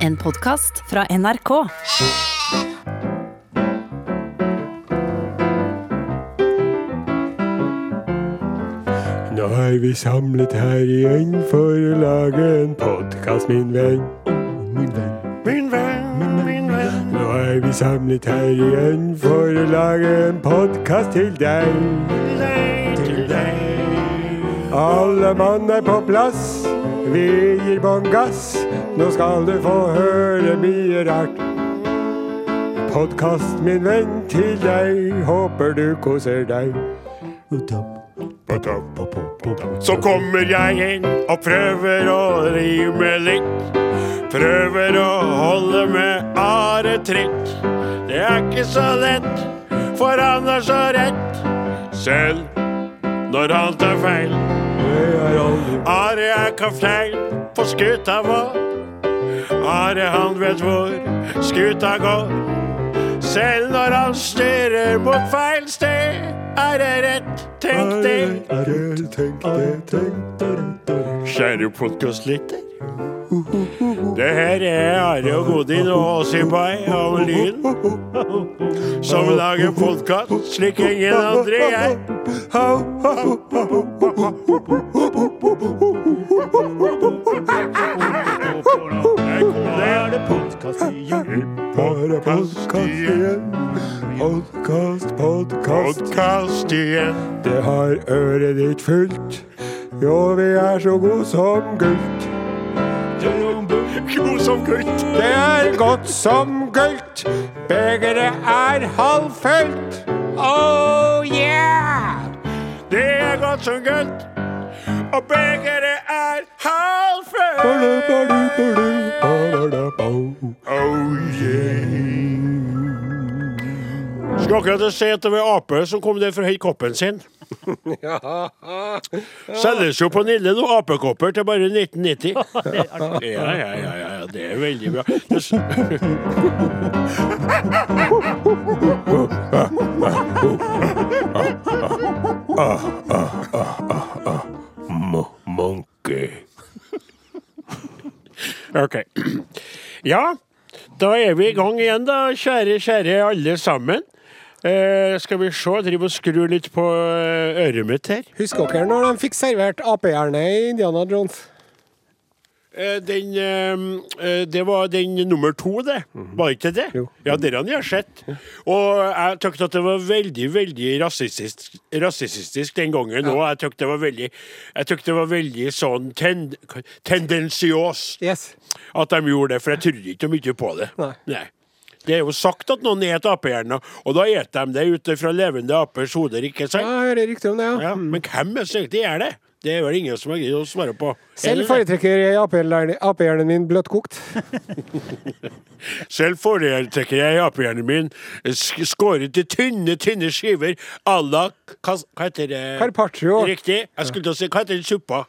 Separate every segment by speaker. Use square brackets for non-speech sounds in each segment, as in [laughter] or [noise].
Speaker 1: En podkast fra NRK.
Speaker 2: Nå er vi samlet her igjen for å lage en podkast, min venn. Min venn. Min venn, min venn. Nå er vi samlet her igjen for å lage en podkast til deg. Til deg. Alle mann er på plass, vi gir bånn gass. Nå skal du få høre mye rart. Podkast, min venn, til deg. Håper du koser deg. Så kommer jeg inn og prøver å rime litt. Prøver å holde med aretrikk. Det er ikke så lett, for han har så rett. Selv når han tar feil. Are er kaptein på skuta vår. Are han vet hvor skuta går. Selv når han stirrer mot feil sted, er det rett. Tenk det. Kjære podkastlytter. Det her er Are og Godin og Åsibai av Lyn, som lager podkast slik ingen andre gjør. Der kommer
Speaker 3: Podkast igjen. Podkast, podkast.
Speaker 2: Podkast igjen.
Speaker 3: Det har øret ditt fullt. Jo, vi er så gode som gult.
Speaker 2: God som gutt.
Speaker 3: Det er godt som gult. Begeret er halvfullt. Oh yeah!
Speaker 2: Det er godt som gutt. Og begeret er halvfullt. Oh yeah. Skulle akkurat si at det var ape som kom ned for å hente koppen sin. Selges jo på Nille nå, apekopper til bare 1990. Ja, ja, ja, ja, ja, det er veldig bra. Det s-
Speaker 3: Monkey.
Speaker 2: Ok. Ja, da er vi i gang igjen, da, kjære, kjære alle sammen. Eh, skal vi se, jeg driver og skrur litt på eh, øret mitt her.
Speaker 3: Husker dere når de fikk servert apehjerne i Indiana Jones?
Speaker 2: Eh, den eh, eh, Det var den nummer to, det. Var ikke det?
Speaker 3: Jo.
Speaker 2: Ja, det har jeg sett. Og jeg syntes at det var veldig, veldig rasistisk, rasistisk den gangen òg. Jeg syntes det var veldig Jeg tykte det var veldig sånn ten, tendensiøst.
Speaker 3: Yes.
Speaker 2: at de gjorde det, for jeg trodde ikke mye på det.
Speaker 3: Nei.
Speaker 2: Det er jo sagt at noen et apehjerner, og da et de det ut fra levende apers hoder, ikke
Speaker 3: Ja,
Speaker 2: sant?
Speaker 3: jeg hører riktig om det, ja.
Speaker 2: Ja. Men hvem er det som egentlig gjør det? Det er vel ingen som har greid å svare på.
Speaker 3: Selv
Speaker 2: Eller det?
Speaker 3: foretrekker jeg apehjerne- apehjernen min bløtkokt.
Speaker 2: Selv foretrekker jeg apehjernen min sk- skåret i tynne, tynne skiver à la Hva hva heter det?
Speaker 3: Carpaccio.
Speaker 2: Riktig. Jeg skulle til å si Hva heter den suppa?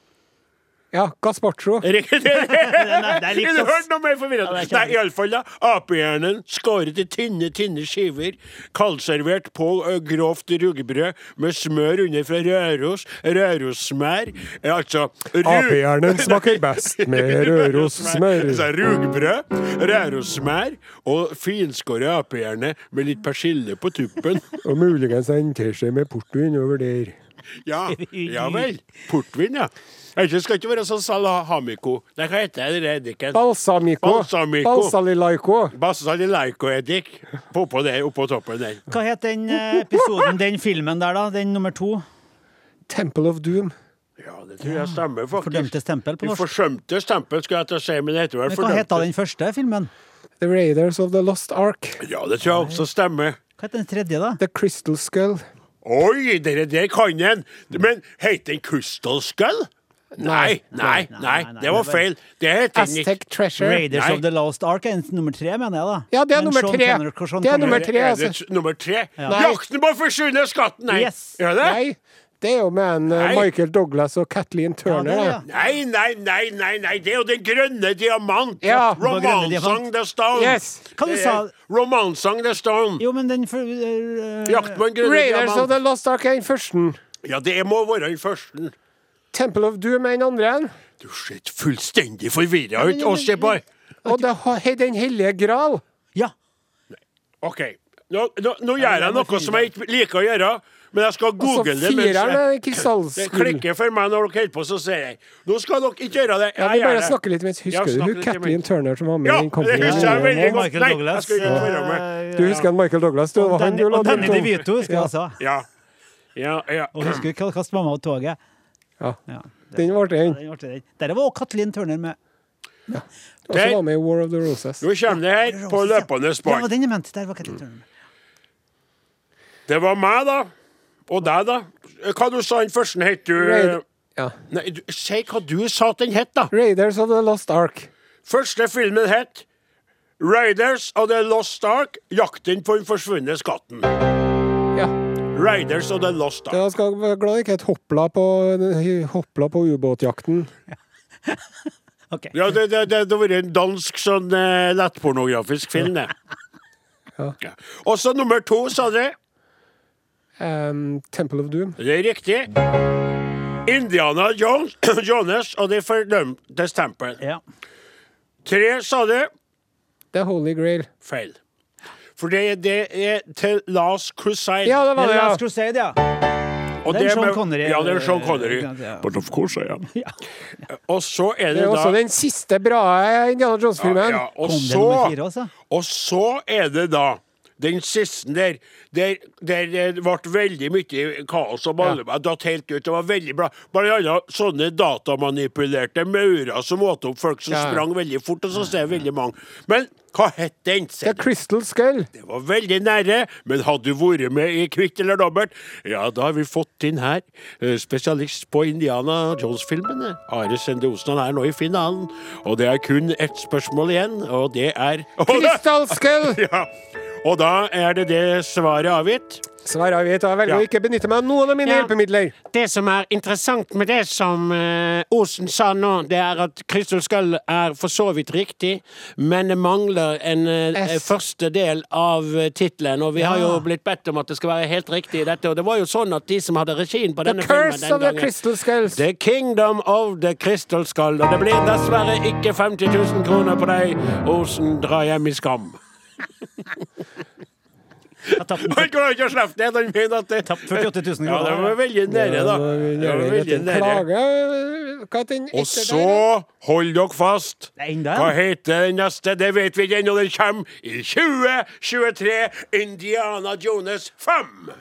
Speaker 3: Ja, [laughs] gazpacho.
Speaker 2: Riktig. Kunne
Speaker 4: Nei, [laughs] det er likt,
Speaker 2: du
Speaker 4: ass.
Speaker 2: hørt noe mer forvirrende?
Speaker 4: Ja, det er
Speaker 2: Nei,
Speaker 4: kjempe-
Speaker 2: iallfall, da. Apehjernen skåret i tynne, tynne skiver, kaldservert på ø, grovt rugbrød med smør under fra Røros, Rørossmær, eh, altså ru-
Speaker 3: Apehjernen smaker best med [laughs] Røros-smør.
Speaker 2: [laughs] Altså rugbrød, Rørossmær og finskåret apehjerne med litt persille på
Speaker 4: [laughs]
Speaker 2: tuppen.
Speaker 3: Og muligens en teskje med portvin over der.
Speaker 2: Ja, ja vel. Portvin, ja. Ellers skal det ikke være sånn salahamico. Nei, hva heter det? Eddiken?
Speaker 3: Balsamico.
Speaker 2: Balsamico.
Speaker 3: Balsalilaico.
Speaker 2: Bassal i leikoeddik. På på det, oppå toppen der.
Speaker 4: Hva het den eh, episoden, den filmen der, da? Den nummer to?
Speaker 3: Temple of Doom.
Speaker 2: Ja, det tror jeg stemmer, faktisk.
Speaker 4: Fordømtes tempel på
Speaker 2: I
Speaker 4: norsk.
Speaker 2: Forsømtes tempel, skulle jeg til å si, men det heter vel
Speaker 4: Men hva het
Speaker 2: fordømtes.
Speaker 4: den første filmen?
Speaker 3: The Raiders of the Lost Ark.
Speaker 2: Ja, det tror jeg også stemmer.
Speaker 4: Hva het den tredje, da?
Speaker 3: The Crystal Skull.
Speaker 2: Oi, dere der kan en! Men heter den Crystal Skull? Nei, nei, nei,
Speaker 4: nei,
Speaker 2: det var
Speaker 4: det var-
Speaker 2: feil. Det heter den ikke.
Speaker 3: Aztec Treasure.
Speaker 4: Raiders
Speaker 2: Nei.
Speaker 4: of the Lost Ark er en nummer tre, mener jeg, da.
Speaker 3: Ja, det er
Speaker 4: Men
Speaker 3: nummer
Speaker 4: Sean
Speaker 3: tre.
Speaker 4: Connery- Sean
Speaker 3: Det er
Speaker 4: Connery-
Speaker 3: nummer tre,
Speaker 2: Er
Speaker 3: altså.
Speaker 2: det nummer tre?
Speaker 3: Nei.
Speaker 2: Jakten på forsvunne skatten, nei!
Speaker 4: Yes.
Speaker 2: Er det?
Speaker 3: Nei, det er jo med en eh,
Speaker 2: Nei.
Speaker 3: Michael Douglas og Kathleen
Speaker 4: Ja, det
Speaker 3: Turner.
Speaker 4: er
Speaker 3: da.
Speaker 4: det,
Speaker 2: Nei, nei, nei, nei, nei, det er jo Den grønne diamant!
Speaker 3: Ja.
Speaker 2: Romansang The Stone!
Speaker 3: Yes.
Speaker 4: Hva du
Speaker 2: Det
Speaker 4: sa
Speaker 2: er Eh, Romansang The Stone!
Speaker 4: Jo, men den for, eh,
Speaker 2: Jakt på en grønne
Speaker 3: Raiders of
Speaker 2: diamant.
Speaker 3: the Lost Ark er den første.
Speaker 2: Ja, det må være den første.
Speaker 3: Temple of Doom er den andre.
Speaker 2: Du ser fullstendig forvirra ut, Åsebø.
Speaker 3: Og det har Den hellige gral.
Speaker 4: Ja.
Speaker 2: OK. Nå, nå, nå gjør jeg noe som jeg ikke liker å gjøre, men jeg skal google det. mens
Speaker 3: Altså, fireren er
Speaker 2: jeg-
Speaker 3: krystallskull.
Speaker 2: Det klikker for meg når dere holder på, så sier jeg Nå skal dere ikke gjøre det.
Speaker 3: Ja,
Speaker 2: Jeg
Speaker 3: vi
Speaker 2: gjør
Speaker 3: bare
Speaker 2: det.
Speaker 3: snakker litt mens.
Speaker 2: Ja,
Speaker 3: Husker du
Speaker 2: snakker
Speaker 3: hun
Speaker 2: litt
Speaker 3: Kathleen
Speaker 2: imens.
Speaker 3: Turner som var med
Speaker 2: Ja,
Speaker 3: i den Company?
Speaker 2: det husker jeg veldig godt.
Speaker 4: Michael
Speaker 2: Nei, jeg
Speaker 4: Douglas,
Speaker 2: skal ikke være med.
Speaker 4: eh,
Speaker 3: Du husker han Michael Douglas? Du, det
Speaker 4: Og
Speaker 3: var han
Speaker 4: Danny
Speaker 3: du la
Speaker 4: og Danny
Speaker 3: den tom.
Speaker 4: DeVito husker
Speaker 3: Ja.
Speaker 4: jeg også.
Speaker 2: Ja. Ja, ja.
Speaker 4: Og husker du Kast mamma og toget?
Speaker 3: Ja.
Speaker 4: Ja.
Speaker 3: Den var det,
Speaker 4: Ja,
Speaker 3: den.
Speaker 4: den var artig, den. Der var også Kathleen Turner med.
Speaker 3: Og så var med i War of the Roses.
Speaker 2: Nå kommer det her på løpende
Speaker 4: Ja,
Speaker 2: bånd.
Speaker 4: den jeg mente. Der var Kathleen Turner med.
Speaker 2: Det var meg, da. Og deg, da. Hva du sa den første het du?
Speaker 3: Raid- Ja.
Speaker 2: Nei, du, si hva du sa at den het, da.
Speaker 3: Raiders of the Lost Ark.
Speaker 2: Første filmen het Raiders of the Lost Ark, jakten på den forsvunne skatten.
Speaker 3: Ja.
Speaker 2: Raiders of the Lost Ark.
Speaker 3: Jeg skal være glad det ikke het Hoppla på, hoppla på ubåtjakten.
Speaker 4: OK.
Speaker 2: Ja, det, det, det, det har vært en dansk sånn eh, lettpornografisk film, det.
Speaker 3: [laughs] Ja.
Speaker 2: Ja. Og så nummer to, sa dere.
Speaker 3: Ehm, Temple of Doom.
Speaker 2: Det er riktig. Indiana Jones, [clears throat] Jones og De fordømtes tempel.
Speaker 4: Ja.
Speaker 2: Tre, sa dere.
Speaker 3: The Holy Grail.
Speaker 2: Feil. For det, det er til Last Crusade.
Speaker 3: Ja, det var det,
Speaker 4: Last
Speaker 3: ja.
Speaker 4: Crusade, ja.
Speaker 2: Og
Speaker 4: Det er
Speaker 2: det
Speaker 4: Sean
Speaker 2: med-
Speaker 4: Connery.
Speaker 2: Ja, det er Sean Connery.
Speaker 4: Ja.
Speaker 2: But of course I am. Og så er det,
Speaker 3: Det er også
Speaker 2: da
Speaker 3: den siste bra Indiana Jones-filmen.
Speaker 2: ja, og,
Speaker 4: Kom det nummer fire
Speaker 2: så,
Speaker 4: også?
Speaker 2: og så er det da den siste der, der, der det ble veldig mye kaos og baller, datt helt ut. Det var veldig bra. Blant annet sånne datamanipulerte maurer som åt opp folk som
Speaker 3: Ja.
Speaker 2: sprang veldig fort, og så ser jeg veldig mange. Men hva het den?
Speaker 3: The
Speaker 2: sier du?
Speaker 3: Crystal Skull.
Speaker 2: Det var veldig nære, men hadde du vært med i Kvitt eller dobbelt, ja, da har vi fått inn her eh, spesialist på Indiana Jones-filmene. Are Sende Osen, han er nå i finalen, og det er kun ett spørsmål igjen, og det er Og da,
Speaker 3: Crystal Skull!
Speaker 2: ja, og da er det det svaret avgitt.
Speaker 3: Sverre, jeg vet, og jeg velger å
Speaker 2: Ja.
Speaker 3: ikke benytte meg av noen av mine
Speaker 2: Ja.
Speaker 3: hjelpemidler.
Speaker 2: Det som er interessant med det som eh, Osen sa nå, det er at Crystal Skull er for så vidt riktig, men det mangler en eh,
Speaker 3: S.
Speaker 2: første del av eh, tittelen. Og vi har jo blitt bedt om at det skal være helt riktig i dette, og det var jo sånn at de som hadde regien på
Speaker 3: The
Speaker 2: denne filmen
Speaker 3: Curse
Speaker 2: den
Speaker 3: of the
Speaker 2: gangen
Speaker 3: Crystal Skulls.
Speaker 2: The Kingdom of the Crystal Skull. Og det blir dessverre ikke 50 000 kroner på deg, Osen. Dra hjem i [laughs] skam.
Speaker 4: Jeg tapte den.
Speaker 2: klarer ikke å slippe det. Han mener at det
Speaker 4: Tapt 48 000 kroner.
Speaker 2: Ja, det var veldig nære, da. Det var veldig nære.
Speaker 3: Klage Hva heter den
Speaker 2: Og
Speaker 3: etter der?
Speaker 2: så, hold dere fast.
Speaker 4: Det er enda en.
Speaker 2: Hva heter den neste? Det vet vi ikke ennå. Den kommer i 2023. Indiana Jones 5.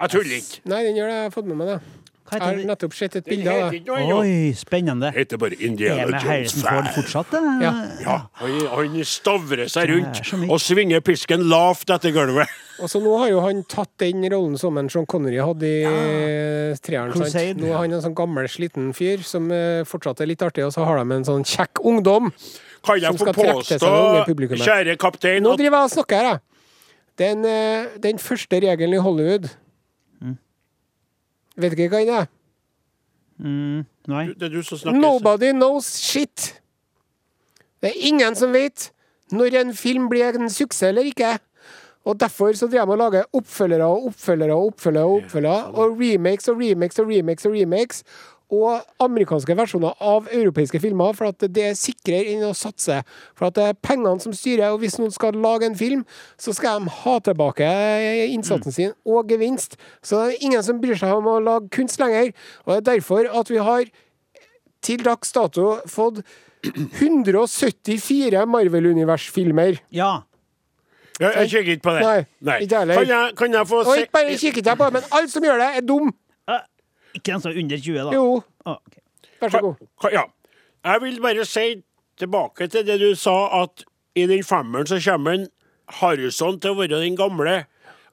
Speaker 2: Jeg tuller ikke.
Speaker 3: Nei, den gjør det. Jeg har fått med meg det.
Speaker 4: Hva
Speaker 3: Jeg
Speaker 4: heter
Speaker 3: har
Speaker 4: den?
Speaker 3: nettopp sett et
Speaker 2: Den
Speaker 3: bilde av
Speaker 2: heter
Speaker 3: det.
Speaker 2: ikke noe ennå.
Speaker 4: Oi, spennende.
Speaker 2: Heter bare
Speaker 4: Er
Speaker 2: Indiana
Speaker 4: med
Speaker 2: Jones
Speaker 4: Harrison Ford
Speaker 2: 5.
Speaker 4: fortsatt, da?
Speaker 3: Ja.
Speaker 2: Ja, han, han stavrer seg
Speaker 4: Det er så
Speaker 2: rundt
Speaker 4: mye.
Speaker 2: og svinger pisken lavt etter gulvet. [laughs]
Speaker 3: Og så nå har jo han tatt den rollen som en Sean Connery hadde i eh, treeren.
Speaker 4: Crusade.
Speaker 3: Sant? Nå er han en sånn gammel, sliten fyr som eh, fortsatt er litt artig, og så har de en sånn kjekk ungdom.
Speaker 2: Kan jeg
Speaker 3: Som
Speaker 2: få
Speaker 3: skal trekke til seg
Speaker 2: påstå,
Speaker 3: det unge publikummet.
Speaker 2: kjære kaptein,
Speaker 3: Nå
Speaker 2: at
Speaker 3: driver jeg og snakker her, jeg. Den, eh, den første regelen i Hollywood Vet ikke hva den er.
Speaker 4: Mm, nei.
Speaker 2: Det er du som snakker.
Speaker 3: Nobody knows shit. Det er ingen som vet når en film blir en suksess eller ikke. Og derfor så driver de og lager oppfølgere og oppfølgere og oppfølgere og oppfølgere, og remakes og remakes og remakes og remakes. Og amerikanske versjoner av europeiske filmer, for at det er sikrere enn å satse. For at det er pengene som styrer, og hvis noen skal lage en film, så skal de ha tilbake innsatsen sin og gevinst. Så det er ingen som bryr seg om å lage kunst lenger. Og det er derfor at vi har til dags dato fått 174 Marvel-univers-filmer.
Speaker 4: Ja.
Speaker 2: Jeg, jeg kikker ikke på det.
Speaker 3: Nei, ikke heller.
Speaker 2: Kan jeg, kan jeg få
Speaker 3: Og
Speaker 2: se
Speaker 3: ikke bare kikket jeg på det, men alle som gjør det, er dum.
Speaker 4: Eh, Ikke den som er under 20, da.
Speaker 3: Jo,
Speaker 4: Ah, ok.
Speaker 3: vær så god.
Speaker 2: Ka- ka- Ja. Jeg vil bare si tilbake til det du sa, at i den femmeren så kommer en Harrison til å være den gamle.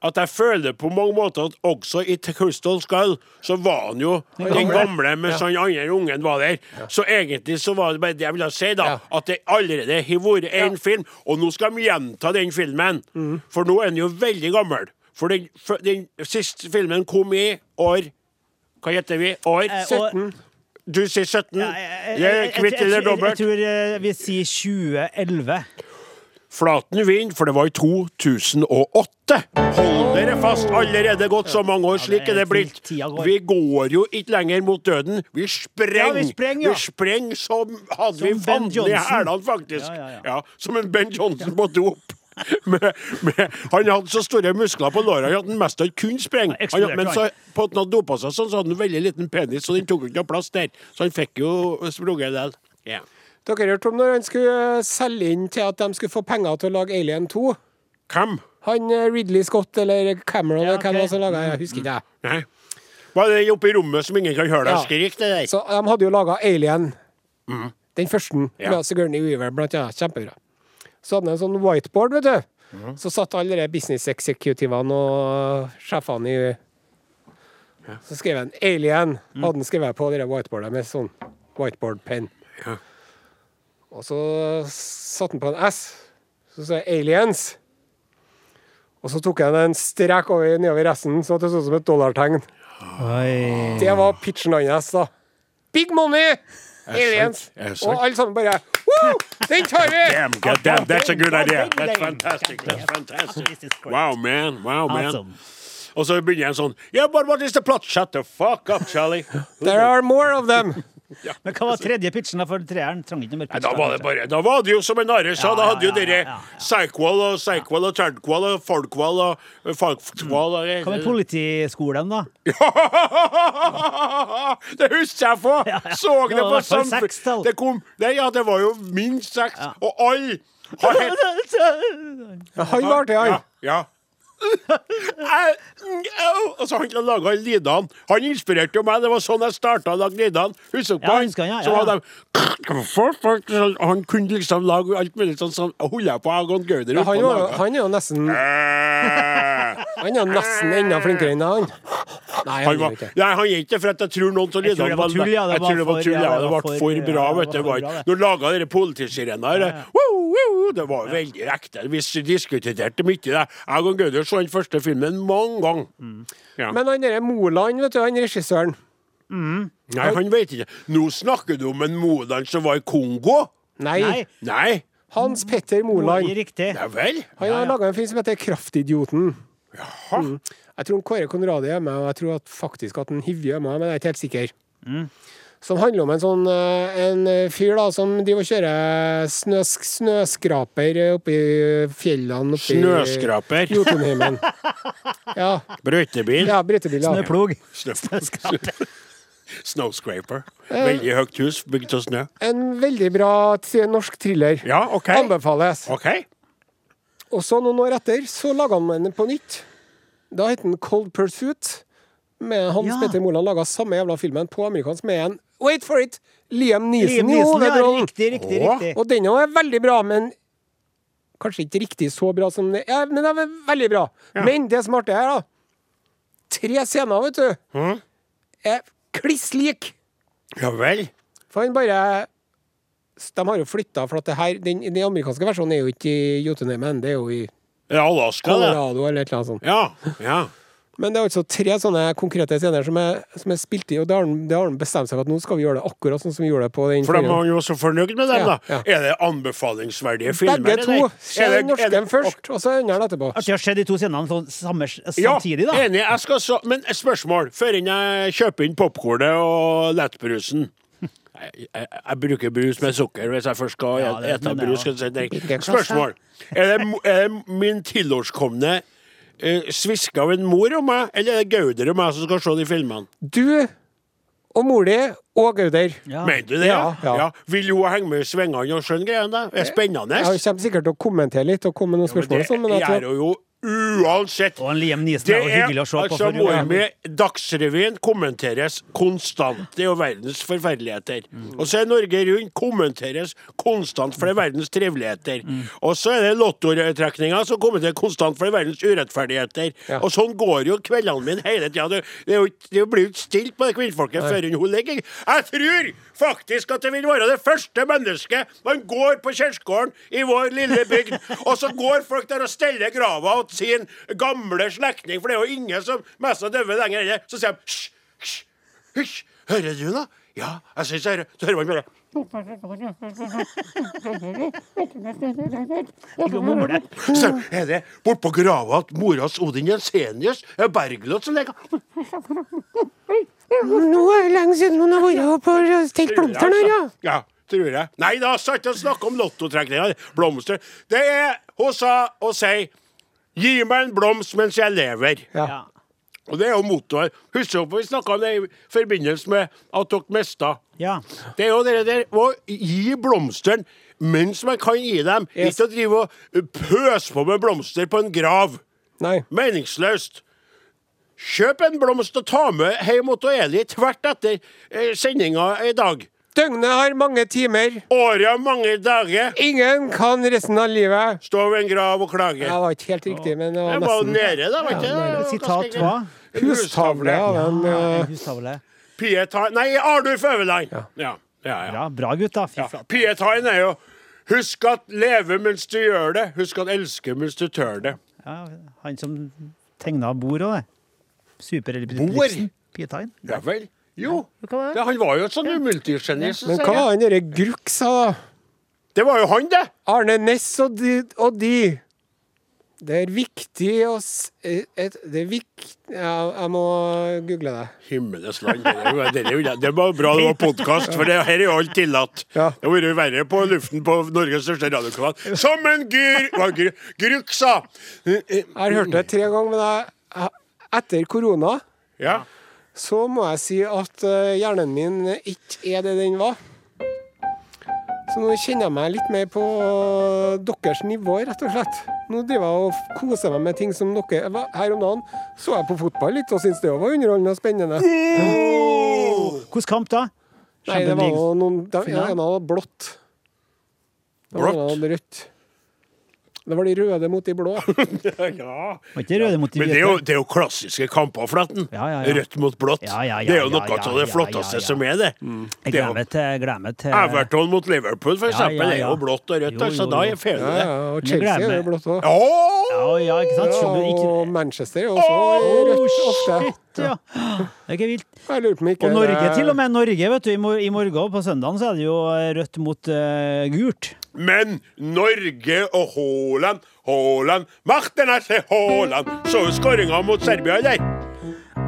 Speaker 2: At jeg føler på mange måter at også i The Crystal Skull så var han jo den gamle, mens han andre ungen var der. Så egentlig så var det bare det jeg ville si, da. At det allerede har vært én film, og nå skal de gjenta den filmen.
Speaker 3: Mm.
Speaker 2: For nå er den jo veldig gammel. For den, for den siste filmen kom i år Hva heter vi? År
Speaker 4: Eh, og-
Speaker 3: 17.
Speaker 2: du sier 17.
Speaker 4: Ja, jeg- jeg-
Speaker 2: Jeg er
Speaker 4: jeg-
Speaker 2: kvitt
Speaker 4: jeg- eh,
Speaker 2: eller
Speaker 4: jeg- Jeg
Speaker 2: dobbelt.
Speaker 4: tror eh, vi sier 2011.
Speaker 2: Flaten vinner, for det var i 2008. Hold dere fast, allerede gått så mange år. Slik
Speaker 4: det er
Speaker 2: er det blilt.
Speaker 4: fint. Tida går.
Speaker 2: Vi går jo ikke lenger mot døden. Vi
Speaker 4: Ja,
Speaker 2: sprenger.
Speaker 4: vi spreng, ja.
Speaker 2: Vi spreng som hadde vi
Speaker 4: Ben
Speaker 2: fanden i
Speaker 4: Johnson.
Speaker 2: hælene, faktisk. Ja,
Speaker 4: Ja, ja, ja.
Speaker 2: som en Ben Johnson på dop. [laughs] med, med, han hadde så store muskler på lårene at han mest ikke kunne sprenge.
Speaker 4: Ja,
Speaker 2: Han,
Speaker 4: eksploderte
Speaker 2: men
Speaker 4: han.
Speaker 2: så, på at han hadde dopa seg sånn, så hadde han en veldig liten penis, så den tok jo ikke noe plass der. Så han fikk jo sprunget i hjel. Ja.
Speaker 3: Dere hørte om når han skulle eh, selge inn til at de skulle få penger til å lage Alien 2?
Speaker 2: Hvem?
Speaker 3: Han eh, Ridley Scott eller Cameron eller hvem
Speaker 4: ok.
Speaker 3: det var som laga Jeg husker ikke, jeg.
Speaker 2: Nei. Var det oppe i rommet som ingen kan høre deg
Speaker 3: Ja.
Speaker 2: skrike? Det der?
Speaker 3: Så de hadde jo laga Alien. Den første.
Speaker 2: Mm. Ja.
Speaker 3: Med Sigourney Weaver, blant annet. Kjempebra. Så hadde han en sånn whiteboard, vet du.
Speaker 2: Mm.
Speaker 3: Så satt alle de business executivene og sjefene i Så skrev han 'Alien',
Speaker 2: Mm.
Speaker 3: hadde han skrevet på det der whiteboardet med sånn whiteboard pen.
Speaker 2: Ja.
Speaker 3: Og så satte han på en S, så sa jeg 'Aliens'. Og så tok han en strek over, nedover resten, så det så ut som et dollartegn.
Speaker 4: Oi.
Speaker 3: Det var pitchen hans, da. Big money! Aliens.
Speaker 2: Er det sant?
Speaker 3: Og alle sammen bare Woo! Den tar
Speaker 2: Damn,
Speaker 3: vi!
Speaker 2: god damn, that's a good
Speaker 4: God
Speaker 2: idea.
Speaker 4: damn,
Speaker 2: That's
Speaker 4: damn.
Speaker 2: fantastic. That's fantastic.
Speaker 4: Jesus Christ.
Speaker 2: Wow, man. Wow, man.
Speaker 4: Awesome.
Speaker 2: Og så begynner jeg sånn Yeah, but what is the plot? Shut the fuck up,
Speaker 4: [laughs]
Speaker 2: Charlie.
Speaker 3: There are more of them.
Speaker 4: Men hva var tredje pitchen da for treeren? Trang ikke noe mer
Speaker 2: Nei,
Speaker 4: pitch.
Speaker 2: Da var det bare Da var det jo som en narre sa,
Speaker 4: Ja,
Speaker 2: da hadde jo
Speaker 4: ja, ja,
Speaker 2: dere
Speaker 4: ja, ja, ja.
Speaker 2: psychwall og psychwall og thirdqual og folkqual og eh, folkqual og
Speaker 4: Hva med politiskolen, da?
Speaker 2: [laughs] Det husker jeg på! Så det
Speaker 4: Det var i
Speaker 2: på
Speaker 4: hvert fall seks
Speaker 2: samfunn...
Speaker 4: tall.
Speaker 2: Det kom Nei, ja, det var jo minst seks, og alle har helt
Speaker 3: Han var artig, han.
Speaker 2: Ja, ja. Au, au. Og så han som laga Lidan, han inspirerte jo meg. Det var sånn jeg starta å lage Lidan. Husker du
Speaker 4: Ja, husker han, ja,
Speaker 2: Så
Speaker 4: ja,
Speaker 2: var
Speaker 4: ja.
Speaker 2: de Folk, folk, så Han kunne liksom lage alt mulig sånn som og holdt jeg på Agon Gauder
Speaker 3: Ja, han,
Speaker 2: oppå
Speaker 3: var,
Speaker 2: laga.
Speaker 3: han er jo nesten
Speaker 2: Eh,
Speaker 3: Han er jo nesten enda flinkere enn han. Nei,
Speaker 2: Han
Speaker 3: han
Speaker 2: var,
Speaker 3: er ikke
Speaker 2: nei, han er ikke for at jeg tror noen av
Speaker 4: Jeg tror
Speaker 2: Lidan
Speaker 4: det var tull, ja, det
Speaker 2: Jeg tror det
Speaker 4: var
Speaker 2: var
Speaker 4: for-
Speaker 2: tull, ja.
Speaker 4: ja,
Speaker 2: Det ble for bra,
Speaker 4: ja,
Speaker 2: vet du.
Speaker 4: det var
Speaker 2: Det
Speaker 4: for
Speaker 2: var-
Speaker 4: bra, det.
Speaker 2: Når laga dere politisirena det, woo, woo, det var veldig ekte. Vi diskuterte mye det. Jeg og Gauder så den første filmen mange ganger. Ja.
Speaker 3: Men han derre Moland, vet du, han regissøren
Speaker 2: Nei, han vet ikke. Nå snakker du om en Moland som var i Kongo?
Speaker 3: Nei.
Speaker 4: Nei.
Speaker 2: Nei,
Speaker 3: Hans Petter Moland.
Speaker 4: Riktig.
Speaker 2: ja vel?
Speaker 3: Han har laga en film som heter 'Kraftidioten'. Mm.
Speaker 2: Jaha.
Speaker 3: Jeg tror Kåre Konradi er med, og jeg tror at faktisk at en Hivje er med, men jeg er ikke helt sikker.
Speaker 2: Mm.
Speaker 3: Som handler om en sånn eh, en fyr da, som driver og kjører snøsk, snøskraper oppi fjellene. Oppi
Speaker 2: Snøskraper.
Speaker 3: Jotunheimen.
Speaker 2: [laughs]
Speaker 3: Ja.
Speaker 2: Brøytebil.
Speaker 3: ja Brøytebil. Ja.
Speaker 4: Snøplog.
Speaker 2: Snøskraper. [laughs] Snowscraper. Veldig høyt hus bygd av snø.
Speaker 3: En veldig bra t- norsk thriller.
Speaker 2: Ja, OK.
Speaker 3: Anbefales.
Speaker 2: OK.
Speaker 3: Og så noen år etter så laga han den på nytt. Da het den Cold Pursuit. Med Hans
Speaker 4: Ja.
Speaker 3: Petter Moland laga samme jævla filmen på amerikansk med en Wait for it! Liam Neeson
Speaker 4: Liam
Speaker 3: i
Speaker 4: Neeson, ja.
Speaker 3: hovedrollen.
Speaker 4: Riktig, riktig,
Speaker 2: Åh.
Speaker 4: riktig.
Speaker 3: Og den òg er veldig bra, men kanskje ikke riktig så bra som det. Ja, men den er veldig bra. Men det som er artig her, da Tre scener, vet du,
Speaker 4: Mm.
Speaker 3: er kliss lik.
Speaker 2: Ja vel.
Speaker 3: For han bare De har jo flytta, for at det her, den, den amerikanske versjonen er jo ikke i Jotunheimen, det er jo i
Speaker 2: Det er Alaska, det.
Speaker 3: Colorado eller et eller annet sånt.
Speaker 2: Ja. ja.
Speaker 3: Men det er altså tre sånne konkrete scener som er, som er spilt i, og det har han- det har han bestemt seg for at nå skal vi gjøre det akkurat sånn som vi gjorde det på den
Speaker 2: For de
Speaker 3: filmen.
Speaker 2: var jo så fornøyd med dem,
Speaker 3: Ja,
Speaker 2: da.
Speaker 3: ja.
Speaker 2: Er det anbefalingsverdige filmer?
Speaker 3: Begge
Speaker 2: det
Speaker 3: to.
Speaker 2: der?
Speaker 3: Se
Speaker 2: Er det-
Speaker 3: den norske
Speaker 2: er det-
Speaker 3: først, og så den andre etterpå.
Speaker 4: Artig å se de to scenene sånn samme,
Speaker 2: Ja,
Speaker 4: samtidig, da.
Speaker 2: enig. Jeg skal så, men et spørsmål før jeg kjøper inn popkornet og lettbrusen. Jeg, jeg, jeg bruker brus med sukker hvis jeg først skal
Speaker 4: Ja, det-
Speaker 2: ete
Speaker 4: men det
Speaker 2: brus.
Speaker 4: er-
Speaker 2: Skal jeg si
Speaker 3: Ikke
Speaker 2: det.
Speaker 3: klasse.
Speaker 2: Spørsmål. Er det, mo- er det min tilårskomne eh, sviske av en mor og meg, eller er det Gauder og meg som skal se de filmene?
Speaker 3: Du og mor di og Gauder.
Speaker 4: Ja.
Speaker 2: Mener du det?
Speaker 3: Ja, ja. Eh,
Speaker 2: Vil hun henge med i svingene og skjønne greiene? Det er spennende.
Speaker 3: Jeg kommer sikkert til å kommentere litt og komme med noen spørsmål. og sånn, men
Speaker 2: det
Speaker 3: jeg
Speaker 2: gjør
Speaker 3: tror,
Speaker 2: hun jo uansett.
Speaker 4: Og en Liam Neeson
Speaker 2: Det
Speaker 4: er jo
Speaker 2: er
Speaker 4: hyggelig å se på.
Speaker 2: altså
Speaker 4: for-
Speaker 2: mora mi Dagsrevyen kommenteres konstant. Det er jo verdens forferdeligheter.
Speaker 4: Mm.
Speaker 2: Og så er Norge Rundt kommenteres konstant, for det er verdens triveligheter.
Speaker 4: Mm.
Speaker 2: Og så er det lottotrekninga som kommenterer konstant, for det er verdens urettferdigheter.
Speaker 3: Ja.
Speaker 2: Og sånn går jo kveldene mine hele tida. Det, det, er jo ikke- det blir jo ikke stilt på det kvinnfolket før hun ligger. Jeg tror faktisk at det vil være det første mennesket man går på kirkegården i vår lille bygd, og så går folk der og steller grava til sin gamle slektning, for det er jo ingen som mest av døve lenger heller. Så sier de hysj, hysj, hysj, hører du noe? Ja, jeg syns jeg hører Så hører man bare
Speaker 4: Ligger og mumler.
Speaker 2: Så er det bortpå grava at moras Odin Jensenius er Bergljot som ligger
Speaker 3: Nå er det lenge siden noen har vært oppe og stelt blomster der, ja.
Speaker 2: altså? Ja, tror jeg. Nei, da satt jeg og snakka om lottotrekninga. Blomster. Det er Hun sa og sier 'Gi meg en blomst mens jeg lever'.
Speaker 4: Ja.
Speaker 2: Og det er jo mottoet. Husker dere vi snakka om det i forbindelse med at dere mista?
Speaker 4: ja.
Speaker 2: Det er jo det der å gi blomstene mens man kan gi dem.
Speaker 3: Yes.
Speaker 2: Ikke å drive og pøse på med blomster på en grav.
Speaker 3: Nei.
Speaker 2: Meningsløst. Kjøp en blomst og ta med hjem til Eli tvert etter eh, sendinga i dag.
Speaker 3: Døgnet har mange timer.
Speaker 2: Året har mange dager.
Speaker 3: Ingen kan resten av livet.
Speaker 2: Stå ved en grav og klage.
Speaker 3: Det var ikke helt riktig, men det
Speaker 2: Det
Speaker 3: var
Speaker 2: var jo
Speaker 3: nesten.
Speaker 2: nede, da. Var ikke det? det? var
Speaker 4: Sitat
Speaker 2: ganske
Speaker 4: hva?
Speaker 2: greit. En
Speaker 3: Hustavle
Speaker 2: hustavle.
Speaker 3: av en eh,
Speaker 4: Hustavle.
Speaker 2: Pietai Nei, Arnulf Øverland! Ja. Ja, ja, ja.
Speaker 4: Bra, bra gutt, da. Fy flate.
Speaker 2: Pietain er jo Husk at leve mens du gjør det, husk at elske mens du tør det.
Speaker 4: Ja, han som tegna bord òg, det.
Speaker 2: Bord?
Speaker 4: Superelipsen. Pietain.
Speaker 2: Ja vel? Jo. Ja, han var jo et sånn multigeni. som
Speaker 3: Men hva
Speaker 2: sier
Speaker 3: var han derre Gruk sa, da?
Speaker 2: jeg. Det var jo han, det!
Speaker 3: Arne Næss og de, og de. Det er viktig å s... eh, Et, det er viktig ja, Jeg må google det.
Speaker 2: Himmelens land. Det er jo- det er jo- det var bra det
Speaker 4: [laughs]
Speaker 2: var podkast, for det, her er jo alt tillatt.
Speaker 3: Ja.
Speaker 2: Det hadde vært verre på luften på Norges største radiokanal. Som en gyr... Hva gru- Gruk sa!
Speaker 3: Jeg har hørt det tre ganger, men jeg, etter korona
Speaker 2: Ja.
Speaker 3: så må jeg si at eh, hjernen min ikke er det den var. Så nå kjenner jeg meg litt mer på deres nivå, rett og slett. Nå driver jeg og koser meg med ting som dere jeg var- Her om dagen så jeg på fotball litt og syntes det var underholdende og spennende.
Speaker 4: Hvilken kamp da?
Speaker 3: Nei, det var jo noen Den
Speaker 4: Final.
Speaker 3: ene hadde blått. Den
Speaker 2: Blått?
Speaker 3: ene hadde rødt. Det var de røde mot de blå.
Speaker 2: [laughs] ja.
Speaker 4: Var ikke det røde mot de
Speaker 2: Men det er, jo,
Speaker 4: hvite?
Speaker 2: det er jo klassiske kamper, Flatten.
Speaker 4: Ja, ja, ja.
Speaker 2: Rødt mot blått.
Speaker 4: Ja, ja, ja,
Speaker 2: det er jo
Speaker 4: ja,
Speaker 2: noe
Speaker 4: ja,
Speaker 2: av det
Speaker 4: ja,
Speaker 2: flotteste
Speaker 4: ja, ja.
Speaker 2: som er det. det er
Speaker 4: Jeg
Speaker 2: jo-
Speaker 4: gleder meg til, jeg gleder meg til
Speaker 2: Everton mot Liverpool, for
Speaker 4: Ja,
Speaker 2: eksempel,
Speaker 4: ja,
Speaker 2: er
Speaker 4: ja.
Speaker 2: jo blått og rødt,
Speaker 4: Jo,
Speaker 2: altså.
Speaker 4: jo,
Speaker 2: Da
Speaker 4: jo.
Speaker 2: er
Speaker 3: [laughs]
Speaker 2: feilen
Speaker 3: Ja,
Speaker 2: det.
Speaker 3: ja, og
Speaker 4: Men
Speaker 3: Chelsea
Speaker 4: glem
Speaker 3: er jo
Speaker 4: det.
Speaker 3: blått òg.
Speaker 4: Ja,
Speaker 2: Åh!
Speaker 4: ja, ikke sant? Skjønner du ikke
Speaker 3: Og Manchester er også rødt ofte.
Speaker 4: Shit, ja. Det er ikke vilt.
Speaker 3: Jeg lurer på om ikke
Speaker 4: Og Norge
Speaker 3: det-
Speaker 4: til og med. Norge, vet du. I mor- i morgen på søndagen så er det jo rødt mot eh, gult.
Speaker 2: Men Norge og Haaland, Haaland Martin er til Haaland! Så du skåringa mot Serbia, eller?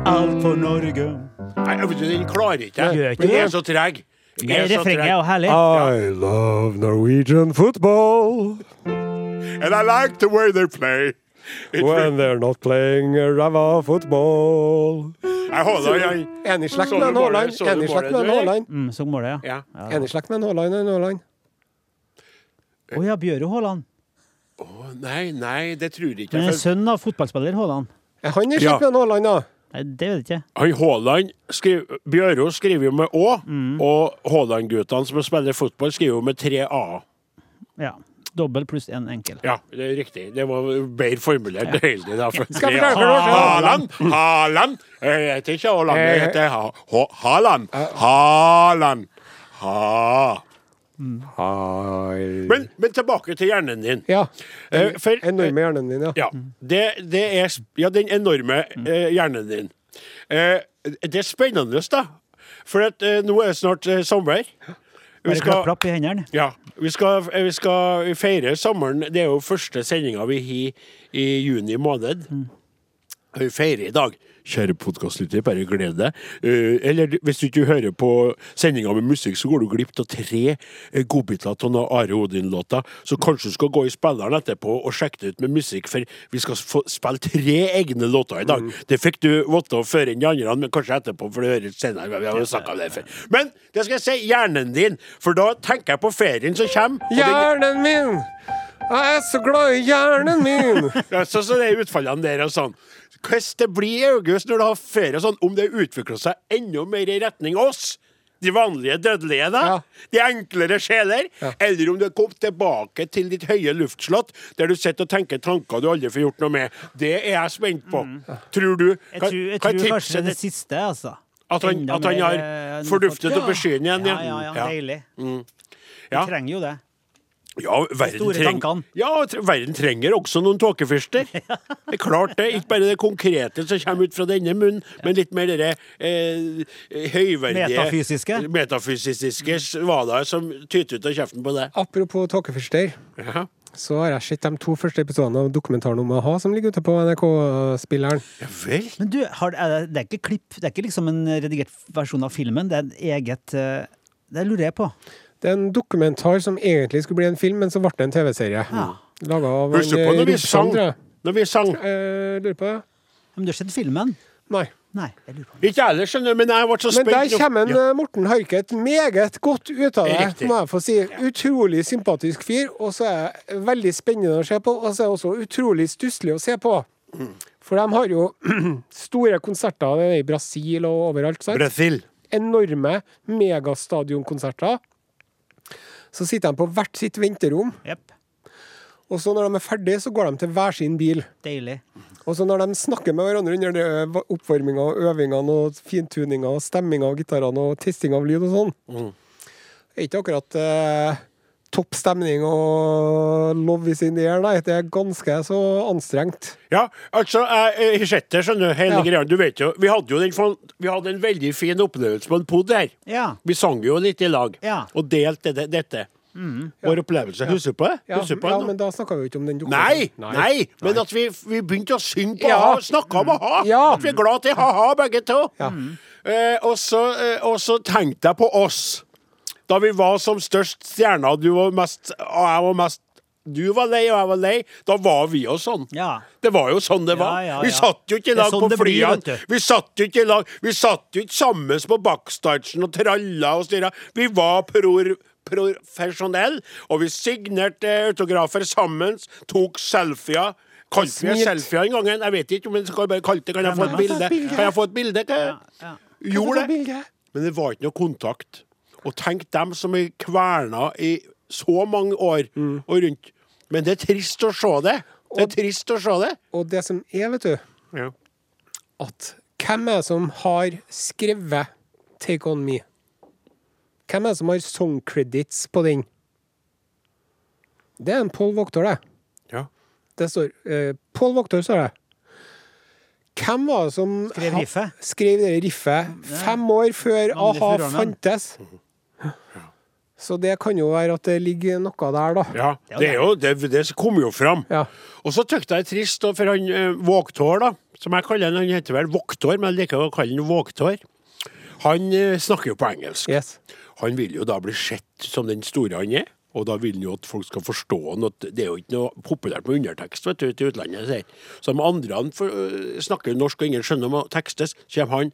Speaker 4: Alt for Norge.
Speaker 2: Nei, jeg vet ikke, den klarer ikke
Speaker 4: Gjør
Speaker 2: jeg.
Speaker 4: ikke
Speaker 2: Den
Speaker 4: det.
Speaker 2: er så treg. Den er så
Speaker 4: Refrenget
Speaker 2: treg.
Speaker 4: er jo herlig.
Speaker 3: I love Norwegian football
Speaker 2: And I like the way they play. It-
Speaker 3: when they're not playing ræva football.
Speaker 2: Jeg holder, jeg.
Speaker 3: Enig i slekt
Speaker 2: Så
Speaker 3: med en
Speaker 2: du målet?
Speaker 3: Haaland.
Speaker 2: Så du
Speaker 3: Enig i slekt
Speaker 2: målet,
Speaker 3: med en
Speaker 2: du, eller?
Speaker 3: Haaland.
Speaker 4: Mm, så målet, ja.
Speaker 2: Ja.
Speaker 3: Enig i slekt med en Haaland og en Haaland.
Speaker 4: Å ja, Bjøro Haaland.
Speaker 2: Å, Nei, nei, det tror jeg ikke.
Speaker 4: Men
Speaker 2: jeg.
Speaker 4: er sønn av fotballspiller Haaland.
Speaker 3: Er Han er
Speaker 2: Ja.
Speaker 3: slekt med en Haaland, da.
Speaker 4: Nei, det vet jeg ikke.
Speaker 2: Han Haaland skriver, Bjøro skriver jo med Å,
Speaker 4: Mm.
Speaker 2: og Haaland-guttene som spiller fotball, skriver jo med tre A.
Speaker 4: Ja. Dobbel pluss én enkel.
Speaker 2: Ja, det er riktig. Det var bedre formulert ja. heldig. Da, for
Speaker 3: Skal
Speaker 2: tre
Speaker 3: jeg
Speaker 2: A.
Speaker 3: forklare for dere?
Speaker 2: Haaland! Haaland! Jeg heter ikke Haaland, jeg
Speaker 3: Eh.
Speaker 2: heter ha Ha- Haaland. Haaland. Ha. Men, men tilbake til hjernen din.
Speaker 3: Ja.
Speaker 2: Eh, for-
Speaker 3: Enorme hjernen din, ja.
Speaker 2: Ja, det, det er, sp- ja den enorme eh, hjernen din. Eh, det er spennende, da. For at, eh, nå er det snart eh, sommer. Vi
Speaker 4: Bare klapp, klapp i hendene.
Speaker 2: ja, vi skal, eh, vi skal feire sommeren. Det er jo første sendinga vi har i juni måned. Vi feirer i dag. Kjære podkastlytter, bare gled deg. Eh, Eller du- hvis du ikke hører på sendinga med musikk, så går du glipp av tre eh, godbiter av noen Are Odin-låter. Så kanskje du skal gå i spilleren etterpå og sjekke det ut med musikk, for vi skal få spille tre egne låter i dag. Det fikk du vite før enn de andre, men kanskje etterpå, for du hører senere. Vi har jo snakket om det før. Men det skal jeg si, hjernen din, for da tenker jeg på ferien som kommer. og den-
Speaker 3: Hjernen min! Jeg er så glad i hjernen min! [laughs]
Speaker 2: Ja, så, så det er utfallene der og sånn. Hvordan det blir i august når du har ferie og sånn, om det utvikler seg enda mer i retning oss, de vanlige dødelige, da,
Speaker 3: Ja.
Speaker 2: de enklere sjeler, eller om du har kommet tilbake til ditt høye luftslott, der du sitter og tenker tanker du aldri får gjort noe med. Det er jeg spent på. Tror du
Speaker 4: Mm. Jeg tror, jeg
Speaker 2: hva er
Speaker 4: tror
Speaker 2: tipset
Speaker 4: kanskje det
Speaker 2: ditt?
Speaker 4: siste, altså.
Speaker 2: At han-
Speaker 4: Enda
Speaker 2: at han
Speaker 4: mer,
Speaker 2: har
Speaker 4: eh, enn
Speaker 2: forduftet
Speaker 4: folk-
Speaker 2: opp i skyen igjen,
Speaker 4: Ja,
Speaker 2: ja.
Speaker 4: ja, ja,
Speaker 2: Ja.
Speaker 4: deilig.
Speaker 2: Ja.
Speaker 4: Vi trenger jo det.
Speaker 2: Ja, verden,
Speaker 4: Store
Speaker 2: treng...
Speaker 4: tankene.
Speaker 2: ja, tre- verden trenger også noen
Speaker 4: [laughs]
Speaker 2: tåkefyrster. Det er klart det. Ikke bare det konkrete som kommer ut fra denne munnen, men litt mer det eh, høyverdige
Speaker 4: Metafysiske.
Speaker 2: Metafysiske svaler som tyter ut av kjeften på deg.
Speaker 3: Apropos tåkefyrster,
Speaker 2: Ja.
Speaker 3: så har jeg sett de to første episodene av dokumentaren om a-ha som ligger ute på NRK-spilleren.
Speaker 2: ja vel.
Speaker 4: Men du, har, er det, det er ikke klipp, det er ikke liksom en redigert versjon av filmen, det er en eget eh, Det lurer jeg på.
Speaker 3: Det er en dokumentar som egentlig skulle bli en film, men så ble det en TV-serie.
Speaker 4: Ja.
Speaker 3: Laget av eh,
Speaker 2: Husker du på når vi sang?
Speaker 3: Tror jeg.
Speaker 2: Når vi sang
Speaker 3: Eh, lurer på det.
Speaker 4: Men du har sett filmen?
Speaker 3: Nei.
Speaker 4: Nei, jeg lurer på om-
Speaker 2: Ikke ellers, skjønner du, men jeg ble så
Speaker 3: Men
Speaker 2: spent.
Speaker 3: der
Speaker 2: nå.
Speaker 3: kommer en,
Speaker 2: Ja.
Speaker 3: eh, Morten Harket meget godt ut av det,
Speaker 2: Riktig.
Speaker 3: må jeg få si. Utrolig sympatisk fyr, og så er det veldig spennende å se på, og så er det også utrolig stusslig å se på. For de har jo [clears throat] store konserter det er i Brasil og overalt. Sant?
Speaker 2: Brasil.
Speaker 3: Enorme megastadionkonserter. Så sitter de på hvert sitt venterom,
Speaker 4: Jepp.
Speaker 3: og så når de er ferdige, så går de til hver sin bil.
Speaker 4: Deilig.
Speaker 3: Og så når de snakker med hverandre under det- oppvarminga og øvingene og fintuninga og stemminga av gitarene og testing av lyd og sånn,
Speaker 2: Mm.
Speaker 3: det er ikke akkurat eh, topp stemning og love is in the air, nei. Det er ganske så anstrengt.
Speaker 2: Ja, altså, jeg har sett det, skjønner du. Hele
Speaker 3: Ja.
Speaker 2: greia. Du vet jo, vi hadde jo den, fan- vi hadde en veldig fin opplevelse på en pod her.
Speaker 4: Ja.
Speaker 2: Vi sang jo litt i lag,
Speaker 4: Ja.
Speaker 2: og delte det, dette. Vår opplevelse. Husker du på det?
Speaker 3: Mm, Ja,
Speaker 2: Husker du på
Speaker 3: ja
Speaker 2: det? nå?
Speaker 3: men da snakker vi jo ikke om den
Speaker 2: Nei,
Speaker 3: dokumentaren.
Speaker 2: nei, men at vi, vi begynte å synge på
Speaker 3: Ja.
Speaker 2: ha, snakke om ha.
Speaker 3: Ja.
Speaker 2: At vi er glad til ha-ha, begge to.
Speaker 3: Ja.
Speaker 2: Eh, og, så, eh, og så tenkte jeg på oss. Da vi var som størst stjerner, du var mest, og jeg var mest Du var lei, og jeg var lei. Da var vi jo sånn.
Speaker 4: Ja.
Speaker 2: Det var jo sånn det var.
Speaker 4: ja,
Speaker 2: Vi
Speaker 4: ja.
Speaker 2: satt jo ikke i
Speaker 4: Det er
Speaker 2: lag
Speaker 4: sånn
Speaker 2: på
Speaker 4: det blir,
Speaker 2: flyene.
Speaker 4: vet du.
Speaker 2: Vi satt jo ikke i lag Vi satt jo ikke sammen på backstagen og tralla og styra. Vi var pror profesjonelle, og vi signerte eh, autografer sammen, tok selfier. Kalte vi
Speaker 3: Smilt.
Speaker 2: selfier en gang? Jeg vet ikke, men skal jeg bare kalle det Kan jeg få et
Speaker 4: men-
Speaker 2: bilde? Kan jeg få et bilde? Kan jeg?
Speaker 4: ja.
Speaker 2: Gjorde det. Men det var ikke noe kontakt. Og tenk dem som er kverna i så mange år og rundt. Men det er trist å se det. Det er trist å se det.
Speaker 3: Og det som er, vet du,
Speaker 2: Ja.
Speaker 3: at hvem er det som har skrevet 'Take On Me'? Hvem er det som har song credits på den? Det er en Paul Voktor, det.
Speaker 2: Ja.
Speaker 3: Det står eh, Pål Voktor, står det. Hvem var det som
Speaker 4: Skrev
Speaker 3: ha-
Speaker 4: riffet? Mm,
Speaker 3: skrev det riffet fem år før
Speaker 4: Navnet
Speaker 3: a-ha
Speaker 4: furormen.
Speaker 3: fantes? Så det kan jo være at det ligger noe der, da.
Speaker 2: Ja, det, er jo, det, det kom jo fram.
Speaker 3: Ja.
Speaker 2: Og så tykte jeg det er trist, da, for han eh, Vågtår, da, som jeg kaller han, han heter vel Vågtår, men jeg liker å kalle han Vågtår, han eh, snakker jo på engelsk.
Speaker 3: Yes.
Speaker 2: Han vil jo da bli sett som den store han er, og da vil han jo at folk skal forstå han. At det er jo ikke noe populært med undertekst vet du, ute i utlandet. Sier. Så de andre han for, øh, snakker norsk, og ingen skjønner om å tekstes. Så kommer han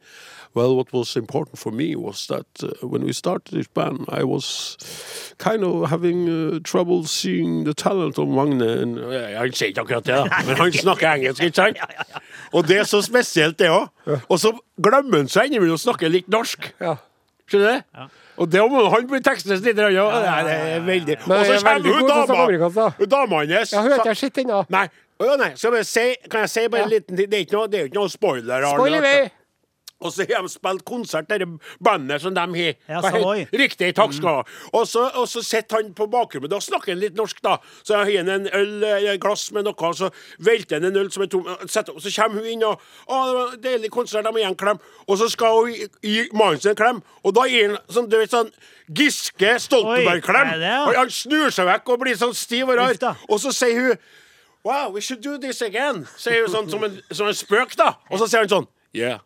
Speaker 2: Well, what was important for me was that uh, when we started this band, I was kind of having uh, trouble seeing the talent of Magne. And, Eh, han sier ikke akkurat det, da, men han snakker engelsk, ikke sant? Og det er så spesielt, det òg. Og så glemmer han seg innimellom å snakke litt norsk.
Speaker 3: Ja.
Speaker 2: Skjønner du? Og det må han bli tekstes litt. Ja, det er veldig
Speaker 3: Men
Speaker 2: Og så
Speaker 3: jeg er veldig
Speaker 2: kommer hun
Speaker 3: god til å snakke
Speaker 2: dama.
Speaker 3: amerikansk, da.
Speaker 2: Hun Dama hans.
Speaker 3: Jeg har
Speaker 2: sa-
Speaker 3: ikke jeg sett ennå.
Speaker 2: Nei. Å, ja, nei. Skal jeg bare si, kan jeg si bare en
Speaker 3: Ja.
Speaker 2: liten ting? Det er ikke noe, det er jo ikke noe spoiler. Arne,
Speaker 3: Skål i
Speaker 2: at-
Speaker 3: vei!
Speaker 2: og så har de spilt konsert, dette bandet som de har.
Speaker 4: Ja,
Speaker 2: Hva het-
Speaker 4: Savoy. Mm.
Speaker 2: Riktig, takk skal du ha. Og så- Og så sitter han på bakrommet, da snakker han litt norsk, da. Så jeg har han en øl, eh, et glass med noe, og så velter han en øl som er tom, og setter opp. så kommer hun inn og Å, det var en deilig konsert, de må gi en klem. Og så skal hun gi- gi mannen sin en klem, og da gir han sånn, du vet, sånn Giske
Speaker 4: Oi, er det,
Speaker 2: Stoltenberg-klem.
Speaker 4: ja?
Speaker 2: Og Han snur seg vekk og blir sånn stiv og
Speaker 4: Uff da.
Speaker 2: rar, og så sier hun Wow, we should do this again, sier hun sånn som en, som en spøk, da. Og så sier han sånn Yeah.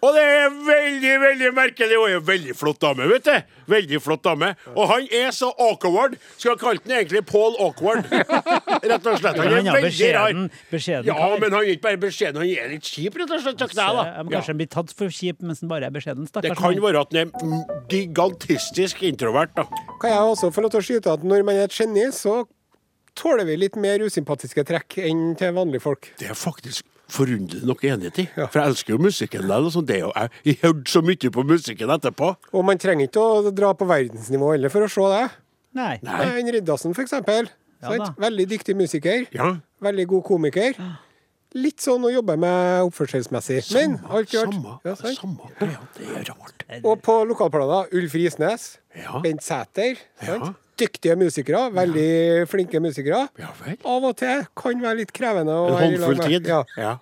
Speaker 2: Og det er veldig, veldig merkelig. Hun er jo veldig flott dame, vet du. Veldig flott dame. Og han er så awkward. Skulle ha kalt han egentlig Paul
Speaker 4: [laughs]
Speaker 2: Awkward. Rett og slett.
Speaker 4: Men
Speaker 2: Han
Speaker 4: han
Speaker 2: er veldig rar.
Speaker 4: er beskjeden- beskjeden
Speaker 2: Ja,
Speaker 4: kar.
Speaker 2: men han er ikke bare beskjeden, han er litt kjip, rett og slett. Takk deg,
Speaker 4: Eh, men
Speaker 2: da.
Speaker 4: Kanskje
Speaker 2: Ja.
Speaker 4: den blir tatt for kjip mens den bare er beskjeden.
Speaker 2: Det
Speaker 4: Stakkars.
Speaker 2: kan
Speaker 4: mann.
Speaker 2: være at han er mm, gigantistisk introvert, da.
Speaker 3: Kan jeg også få lov til å skyte at når man er et geni, så tåler vi litt mer usympatiske trekk enn til vanlige folk.
Speaker 2: Det er faktisk forunderlig nok enighet i. For jeg elsker jo musikken der. Og sånn. det er jo, jeg har hørt så mye på musikken etterpå.
Speaker 3: Og man trenger ikke å dra på verdensnivå heller for å se det.
Speaker 4: Nei.
Speaker 2: Nei.
Speaker 3: Nei, en Riddarsen, for eksempel.
Speaker 4: Ja
Speaker 3: sant?
Speaker 4: da.
Speaker 3: Veldig dyktig musiker.
Speaker 2: Ja.
Speaker 3: Veldig god komiker. Litt sånn å jobbe med oppførselsmessig. Men alt i alt.
Speaker 2: Samme,
Speaker 3: Ja, sant?
Speaker 2: samme greia. Det er rart.
Speaker 3: og på lokalplaner Ulf Risnes,
Speaker 2: Ja.
Speaker 3: Bent Sæter. Sant?
Speaker 2: Ja.
Speaker 3: dyktige musikere, veldig flinke musikere.
Speaker 2: Ja vel.
Speaker 3: Av og til kan være litt krevende. å
Speaker 2: En
Speaker 3: være i lag
Speaker 2: håndfull
Speaker 3: med.
Speaker 2: tid.
Speaker 3: Ja.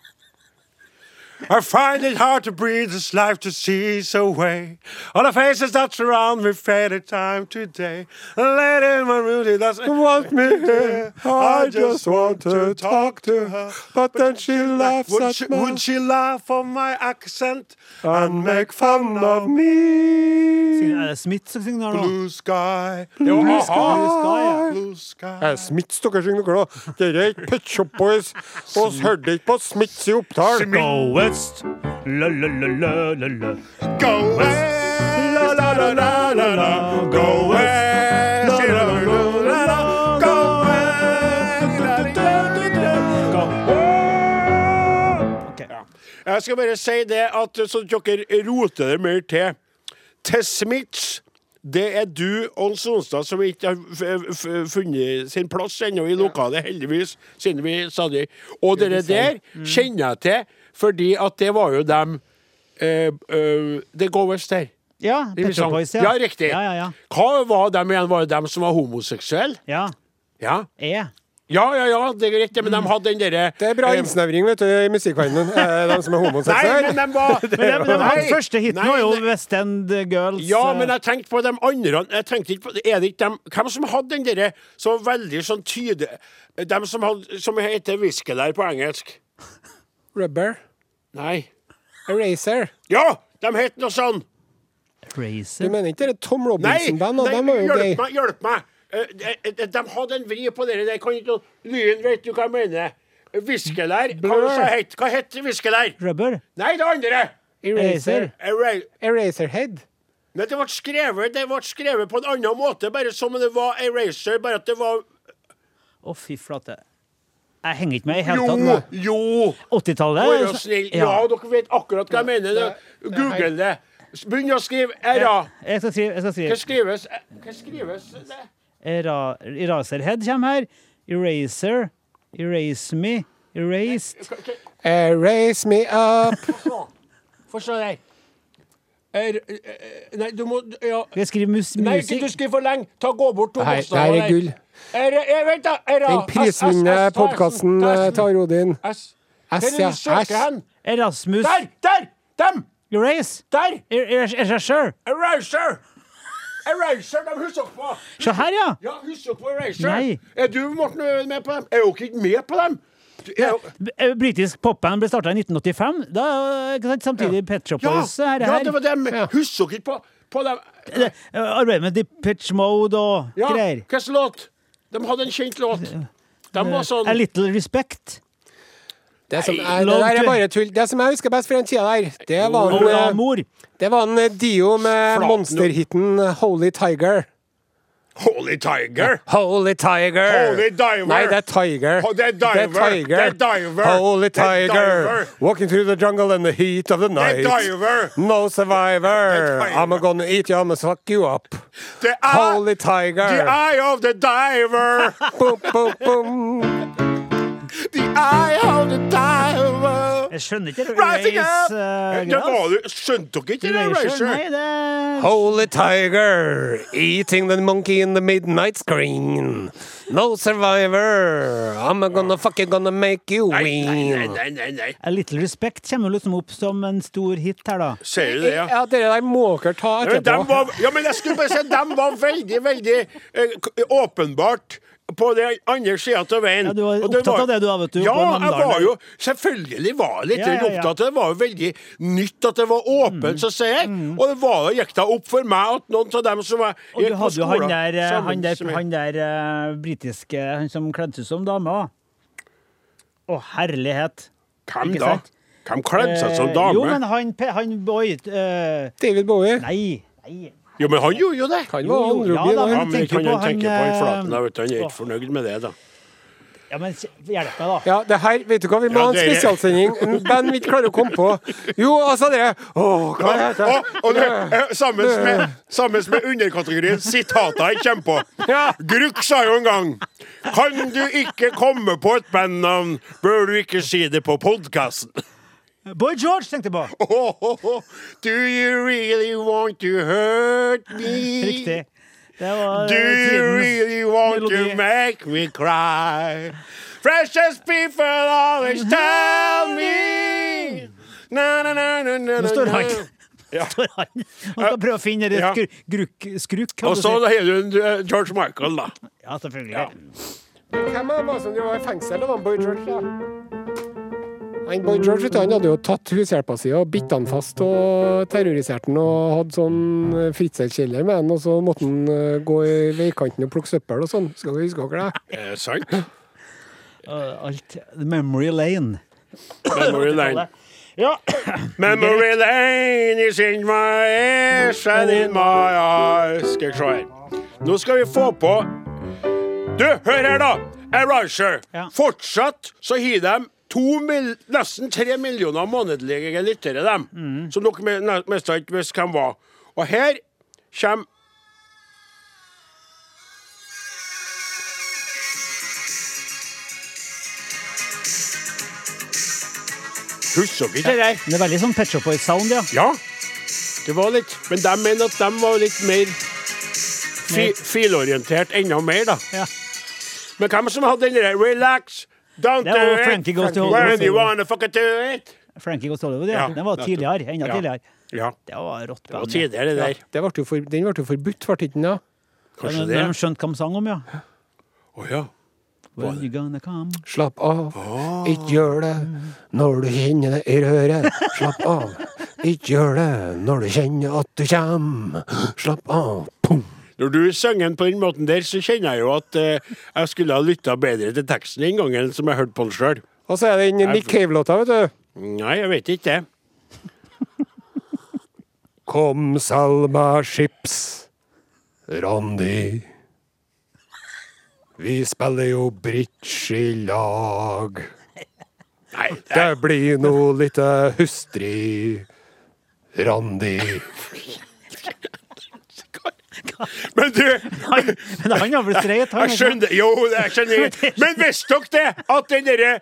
Speaker 2: I find it hard to breathe this life to seize away. All the faces that surround me fade at time today. Let in my beauty that's
Speaker 3: Want me here, eh, I just want to talk to her, but then she laughs
Speaker 2: Would she,
Speaker 3: at Uh-huh. me
Speaker 2: would she laugh on my accent
Speaker 3: and make fun of me.
Speaker 4: Er det Smith som synger nå?
Speaker 2: Blue sky. Det var
Speaker 3: Blue
Speaker 2: a-ha.
Speaker 3: sky.
Speaker 2: Blue sky.
Speaker 3: Er det Smiths dere synger dere da? Dere er ikke Pet Shop Boys. Oss hørte ikke på Smiths i Oppdal.
Speaker 4: Go west, la-la-la-la-la.
Speaker 2: Go west, la la la la la la. Go west, la la la la la la. Go west, la la la la la. Go west. Jeg skal bare si det at eh, så dere roter det mer til. Til Smiths. Det er du og Sonstad som ikke har f- f- funnet sin plass ennå i lokalet, heldigvis, siden vi stadig Og dere der
Speaker 4: Mm.
Speaker 2: kjenner jeg til, fordi at det var jo dem eh, eh, Det går visst der.
Speaker 4: Ja,
Speaker 2: i
Speaker 4: Pet Shop
Speaker 2: sang.
Speaker 4: Boys,
Speaker 2: ja, riktig.
Speaker 4: Ja, ja, ja.
Speaker 2: Hva var dem igjen? Var det dem som var homoseksuelle?
Speaker 4: ja.
Speaker 2: Ja,
Speaker 4: E.
Speaker 2: ja, ja, ja det er riktig, men
Speaker 4: Mm.
Speaker 2: de hadde den derre
Speaker 3: Det er bra
Speaker 2: eh,
Speaker 3: innsnevring vet du, i musikkverdenen. Eh, De som er
Speaker 2: Nei, men
Speaker 3: homoseksuelle.
Speaker 2: de var
Speaker 4: Men [laughs] det, men det var hans
Speaker 2: Nei,
Speaker 4: første hit nå,
Speaker 2: nei,
Speaker 4: er jo
Speaker 2: nei.
Speaker 4: West End Girls.
Speaker 2: Ja, men
Speaker 4: eh,
Speaker 2: jeg tenkte på de andre. Jeg tenkte ikke på, er det ikke dem, Hvem som hadde den derre som var veldig sånn tyde... Dem som, hadde, som heter viskelær på engelsk.
Speaker 3: Rubber.
Speaker 2: Nei.
Speaker 3: Eraser.
Speaker 2: Ja! De het noe sånn.
Speaker 3: Du
Speaker 4: Crazy.
Speaker 3: mener ikke det er Tom
Speaker 2: Nei!
Speaker 3: Robinson-band?
Speaker 2: nei,
Speaker 3: De var jo gay.
Speaker 2: hjelp meg! Hjelp meg! Eh, de- de- De hadde en vri på det der. Kan ikke Lyen, vet du hva jeg mener? Viskelær. Hva
Speaker 3: Blur.
Speaker 2: sa het- hva het viskelær?
Speaker 4: Rubber.
Speaker 2: Nei, det andre!
Speaker 3: Eraser.
Speaker 4: Eraser.
Speaker 2: Array.
Speaker 3: Eraserhead.
Speaker 2: Men det ble skrevet, det ble skrevet på en annen måte, bare som om det var Eraser, bare at det var
Speaker 4: Å, fy flate. Jeg henger ikke med i det hele
Speaker 2: Jo!
Speaker 4: tatt.
Speaker 2: Jo! Vær så
Speaker 4: 80-tallet?
Speaker 2: snill. Ja,
Speaker 4: Ja.
Speaker 2: dere vet akkurat hva jeg mener. Da- Google det. Begynn å skrive RA.
Speaker 4: Jeg skal skrive. Jeg skal
Speaker 2: Hva
Speaker 4: skrive.
Speaker 2: skrives? Hva skrives det?
Speaker 4: Era- Eraserhead kommer her. Eraser. Erase me. Erased.
Speaker 2: Hva- hva-
Speaker 3: Erase me
Speaker 2: [laughs]
Speaker 3: up.
Speaker 2: Få se deg. Er, nei, du må ja.
Speaker 4: Skal jeg skrive mus
Speaker 2: Nei, ikke du
Speaker 4: musikk?
Speaker 2: skriver for lenge. Ta Gå bort to
Speaker 3: Det her- det her er gull.
Speaker 2: Er, er, vent, da. Er,
Speaker 3: Den prisvinnende podkasten til Arodin.
Speaker 2: S.
Speaker 3: S,
Speaker 2: Hvor er det
Speaker 3: ja.
Speaker 2: du søker
Speaker 3: S.
Speaker 2: hen?
Speaker 4: Erasmus.
Speaker 2: Der! Der! Dem!
Speaker 4: Erase.
Speaker 2: Der!
Speaker 4: Er- er- Erasure.
Speaker 2: Eraser! Eraser, de husker dere på.
Speaker 4: Se her, ja.
Speaker 2: Ja, husker dere på Eraser?
Speaker 4: Nei.
Speaker 2: Er du, Morten, Øen, med på dem? Er dere ikke med på dem? Du, er jo-
Speaker 4: B- eh, Britisk popband ble starta i 1985. Da, ikke sant? Samtidig Pet Shop
Speaker 2: Ja,
Speaker 4: Boys. her,
Speaker 2: ja,
Speaker 4: her.
Speaker 2: det var dem. Husker dere ikke på, på dem?
Speaker 4: Det- eh, Arbeidet med Depeche Mode og
Speaker 2: Ja,
Speaker 4: greier.
Speaker 2: hva slags låt? De hadde en kjent låt. De var sånn
Speaker 4: A Little Respect.
Speaker 3: Det som
Speaker 4: Nei,
Speaker 3: er, det der
Speaker 4: langt
Speaker 3: er
Speaker 4: ut.
Speaker 3: bare tull. Det som jeg husker best fra den tida der, det var en,
Speaker 4: Ola
Speaker 3: eh,
Speaker 4: Mor.
Speaker 3: det var en eh, Dio med
Speaker 2: Flaten.
Speaker 3: monsterhiten eh, Holy Tiger.
Speaker 2: Holy Tiger!
Speaker 3: Holy Tiger.
Speaker 2: Holy Diver.
Speaker 3: Nei, det er Tiger.
Speaker 2: Ho- det er Diver.
Speaker 3: Tiger.
Speaker 2: Det er Diver.
Speaker 3: Holy
Speaker 2: Det er
Speaker 3: Tiger.
Speaker 2: Diver.
Speaker 3: Walking through the jungle in the heat of the night.
Speaker 2: Diver.
Speaker 3: No survivor.
Speaker 2: Tiger.
Speaker 3: I'm gonna eat you, I'm gonna suck you up.
Speaker 2: The eye,
Speaker 3: Holy
Speaker 2: the
Speaker 3: Tiger.
Speaker 2: eye of the diver!
Speaker 3: Boom, boom, boom.
Speaker 2: The eye of the diver!
Speaker 4: Jeg skjønner ikke
Speaker 2: Rising up!
Speaker 4: eh,
Speaker 2: Det var
Speaker 4: Erase.
Speaker 2: du. Skjønte dere ikke det, Racer?
Speaker 4: Nei, det
Speaker 3: Holy Tiger. Eating the monkey in the midnight screen. No survivor. I'm gonna fucking gonna make you
Speaker 2: Nei, nei, nei,
Speaker 3: ween.
Speaker 2: nei, nei, nei.
Speaker 4: A Little Respect kommer jo liksom opp som en stor hit her, da.
Speaker 2: Ser du det, ja?
Speaker 3: Ja, dere der må dere ta
Speaker 2: Men
Speaker 3: etterpå.
Speaker 2: dem var, ja, men jeg skulle bare si dem var veldig, veldig eh, k- åpenbart på den andre sida av veien.
Speaker 4: Ja, du var
Speaker 2: Og
Speaker 4: opptatt av det du har, vet du,
Speaker 2: Ja, jeg
Speaker 4: på Namdalen.
Speaker 2: var jo Selvfølgelig var jeg litt
Speaker 4: Ja, ja, ja.
Speaker 2: opptatt av det. Det var jo veldig nytt at det var åpent, som sier. Og det var da gikk da opp for meg at noen av dem som var
Speaker 4: Mm. Og du hadde jo han der, eh,
Speaker 2: sammen
Speaker 4: han der,
Speaker 2: som jeg-
Speaker 4: han der eh, britiske Han som kledde seg som dame òg. Å, herlighet.
Speaker 2: Hvem
Speaker 4: ikke
Speaker 2: da?
Speaker 4: sant?
Speaker 2: Hvem kledde seg som
Speaker 4: Eh,
Speaker 2: dame?
Speaker 4: Jo, men han, pe- han boy eh,
Speaker 3: David Bowie.
Speaker 4: Nei. nei.
Speaker 2: han gjorde jo det.
Speaker 3: Han
Speaker 4: Jo,
Speaker 3: var
Speaker 4: jo, ja
Speaker 3: androgen.
Speaker 4: da,
Speaker 3: han.
Speaker 2: Ja,
Speaker 4: men
Speaker 2: men
Speaker 4: tenker
Speaker 2: kan
Speaker 4: på
Speaker 2: han tenke på han
Speaker 4: han,
Speaker 2: flaten da,
Speaker 4: eh,
Speaker 2: vet du. Han er
Speaker 4: åh.
Speaker 2: ikke fornøyd med det, da.
Speaker 4: Ja, men hjelp meg, da.
Speaker 3: Ja, det her, vet du hva, vi må
Speaker 2: Ja,
Speaker 3: ha en
Speaker 2: dere-
Speaker 3: spesialsending. En band vi ikke klarer å komme på. Jo, altså dere Åh, hva heter
Speaker 2: Og, og det,
Speaker 3: det?
Speaker 2: eh, sammen, med, sammen med underkategorien sitater jeg kommer på.
Speaker 3: Ja.
Speaker 2: Gruk sa jo en gang Kan du ikke komme på et bandnavn, bør du ikke si det på [laughs] podkasten.
Speaker 4: Boy George tenkte jeg på.
Speaker 2: Do you really want to hurt me?
Speaker 4: Riktig. Det var eh,
Speaker 2: Do you
Speaker 4: tidens
Speaker 2: really want
Speaker 4: melodi.
Speaker 2: to make me cry? Precious people always tell me Na, na, na, na, na,
Speaker 4: Nå står
Speaker 2: na,
Speaker 4: han.
Speaker 2: na. Ja.
Speaker 4: Står han. Man skal prøve å finne rett
Speaker 2: Ja.
Speaker 4: skru- grukk, skrukk. kan
Speaker 2: Og
Speaker 4: du
Speaker 2: så
Speaker 4: si.
Speaker 2: har du eh, George Michael, da.
Speaker 4: Ja, selvfølgelig.
Speaker 2: Ja.
Speaker 3: Hvem av dem var som var i fengsel? Det var en Boy George, da. Han Boy George vet du, han hadde jo tatt hushjelpa si og bitt han fast og terrorisert han og hadde sånn eh, fritselskjeller med han, og så måtte han eh, gå i veikanten og plukke søppel og sånn. Skal vi huske dere det?
Speaker 2: Eh, sant?
Speaker 4: Og Alt. Memory Lane.
Speaker 2: Memory Lane.
Speaker 4: Ja.
Speaker 2: Memory Lane is in my ears and in my eyes. Skal vi se her. Nå skal vi få på Du, hør her, da! Erasure.
Speaker 4: Ja.
Speaker 2: Fortsatt så har de to mil, nesten tre millioner månedlige lyttere, dem. Så dere me- ne- mista ikke visst hvem var. Og her kommer Husker dere det der?
Speaker 4: Det er veldig sånn Pet Shop Boys-sound, ja.
Speaker 2: Ja, det var litt Men de mener at de var litt mer fi,
Speaker 4: Mer.
Speaker 2: filorientert enda mer, da.
Speaker 4: ja.
Speaker 2: Men hvem som hadde den der Relax, don't
Speaker 4: Det
Speaker 2: do
Speaker 4: var
Speaker 2: it
Speaker 4: Frankie Goes to
Speaker 2: When
Speaker 4: Hollywood.
Speaker 2: you wanna fucking do it
Speaker 4: Frankie Goes to Hollywood, ja.
Speaker 2: Ja,
Speaker 4: Den var
Speaker 2: nettopp.
Speaker 4: tidligere. Enda
Speaker 2: Ja.
Speaker 4: tidligere.
Speaker 2: Ja,
Speaker 4: Det var rått
Speaker 2: det var
Speaker 4: band. ja.
Speaker 2: tidligere, det der.
Speaker 3: Det ble jo for, den ble jo forbudt, ble den ikke den da?
Speaker 2: Kanskje det.
Speaker 4: Men- men De skjønte hva de sang om, ja.
Speaker 2: Å ja.
Speaker 4: When you gonna come
Speaker 3: Slapp av, ikke gjør det når du kjenner det i røret. Slapp av, ikke gjør det når du kjenner at du kjem. Slapp av. Pum.
Speaker 2: Når du synger den på den måten der, så kjenner jeg jo at eh, jeg skulle ha lytta bedre til teksten den gangen som jeg hørte på den sjøl.
Speaker 3: Og så er det den Nick Cave-låta, vet du.
Speaker 2: Nei, jeg vet ikke det.
Speaker 3: Kom Salma Chips, Randi. Vi spiller jo bridge i lag.
Speaker 2: Nei, det
Speaker 3: Det blir noe lite hustrig. Randi.
Speaker 2: Men du,
Speaker 4: Han, men han var vel streit, han. altså.
Speaker 2: Jeg skjønner Jo, det- jeg skjønner Men visste dere det? At den derre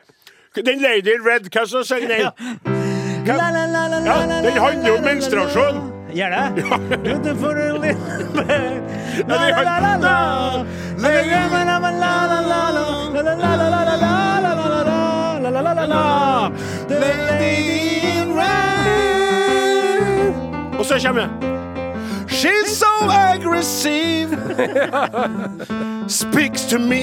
Speaker 2: Den Lady in Red, hva som sang den? Ja, den handler jo om menstruasjon.
Speaker 4: Gjør det? Do the for a little bit. La,
Speaker 2: [laughs] Ja,
Speaker 4: la, la, la, la. La, la, la, la, la, la, la, la, la. La, la, la, la, la, la, la, la, la, la, la, la, la, la. The lady in red.
Speaker 2: Og så kommer det She's so aggressive
Speaker 4: [laughs]
Speaker 2: Speaks to me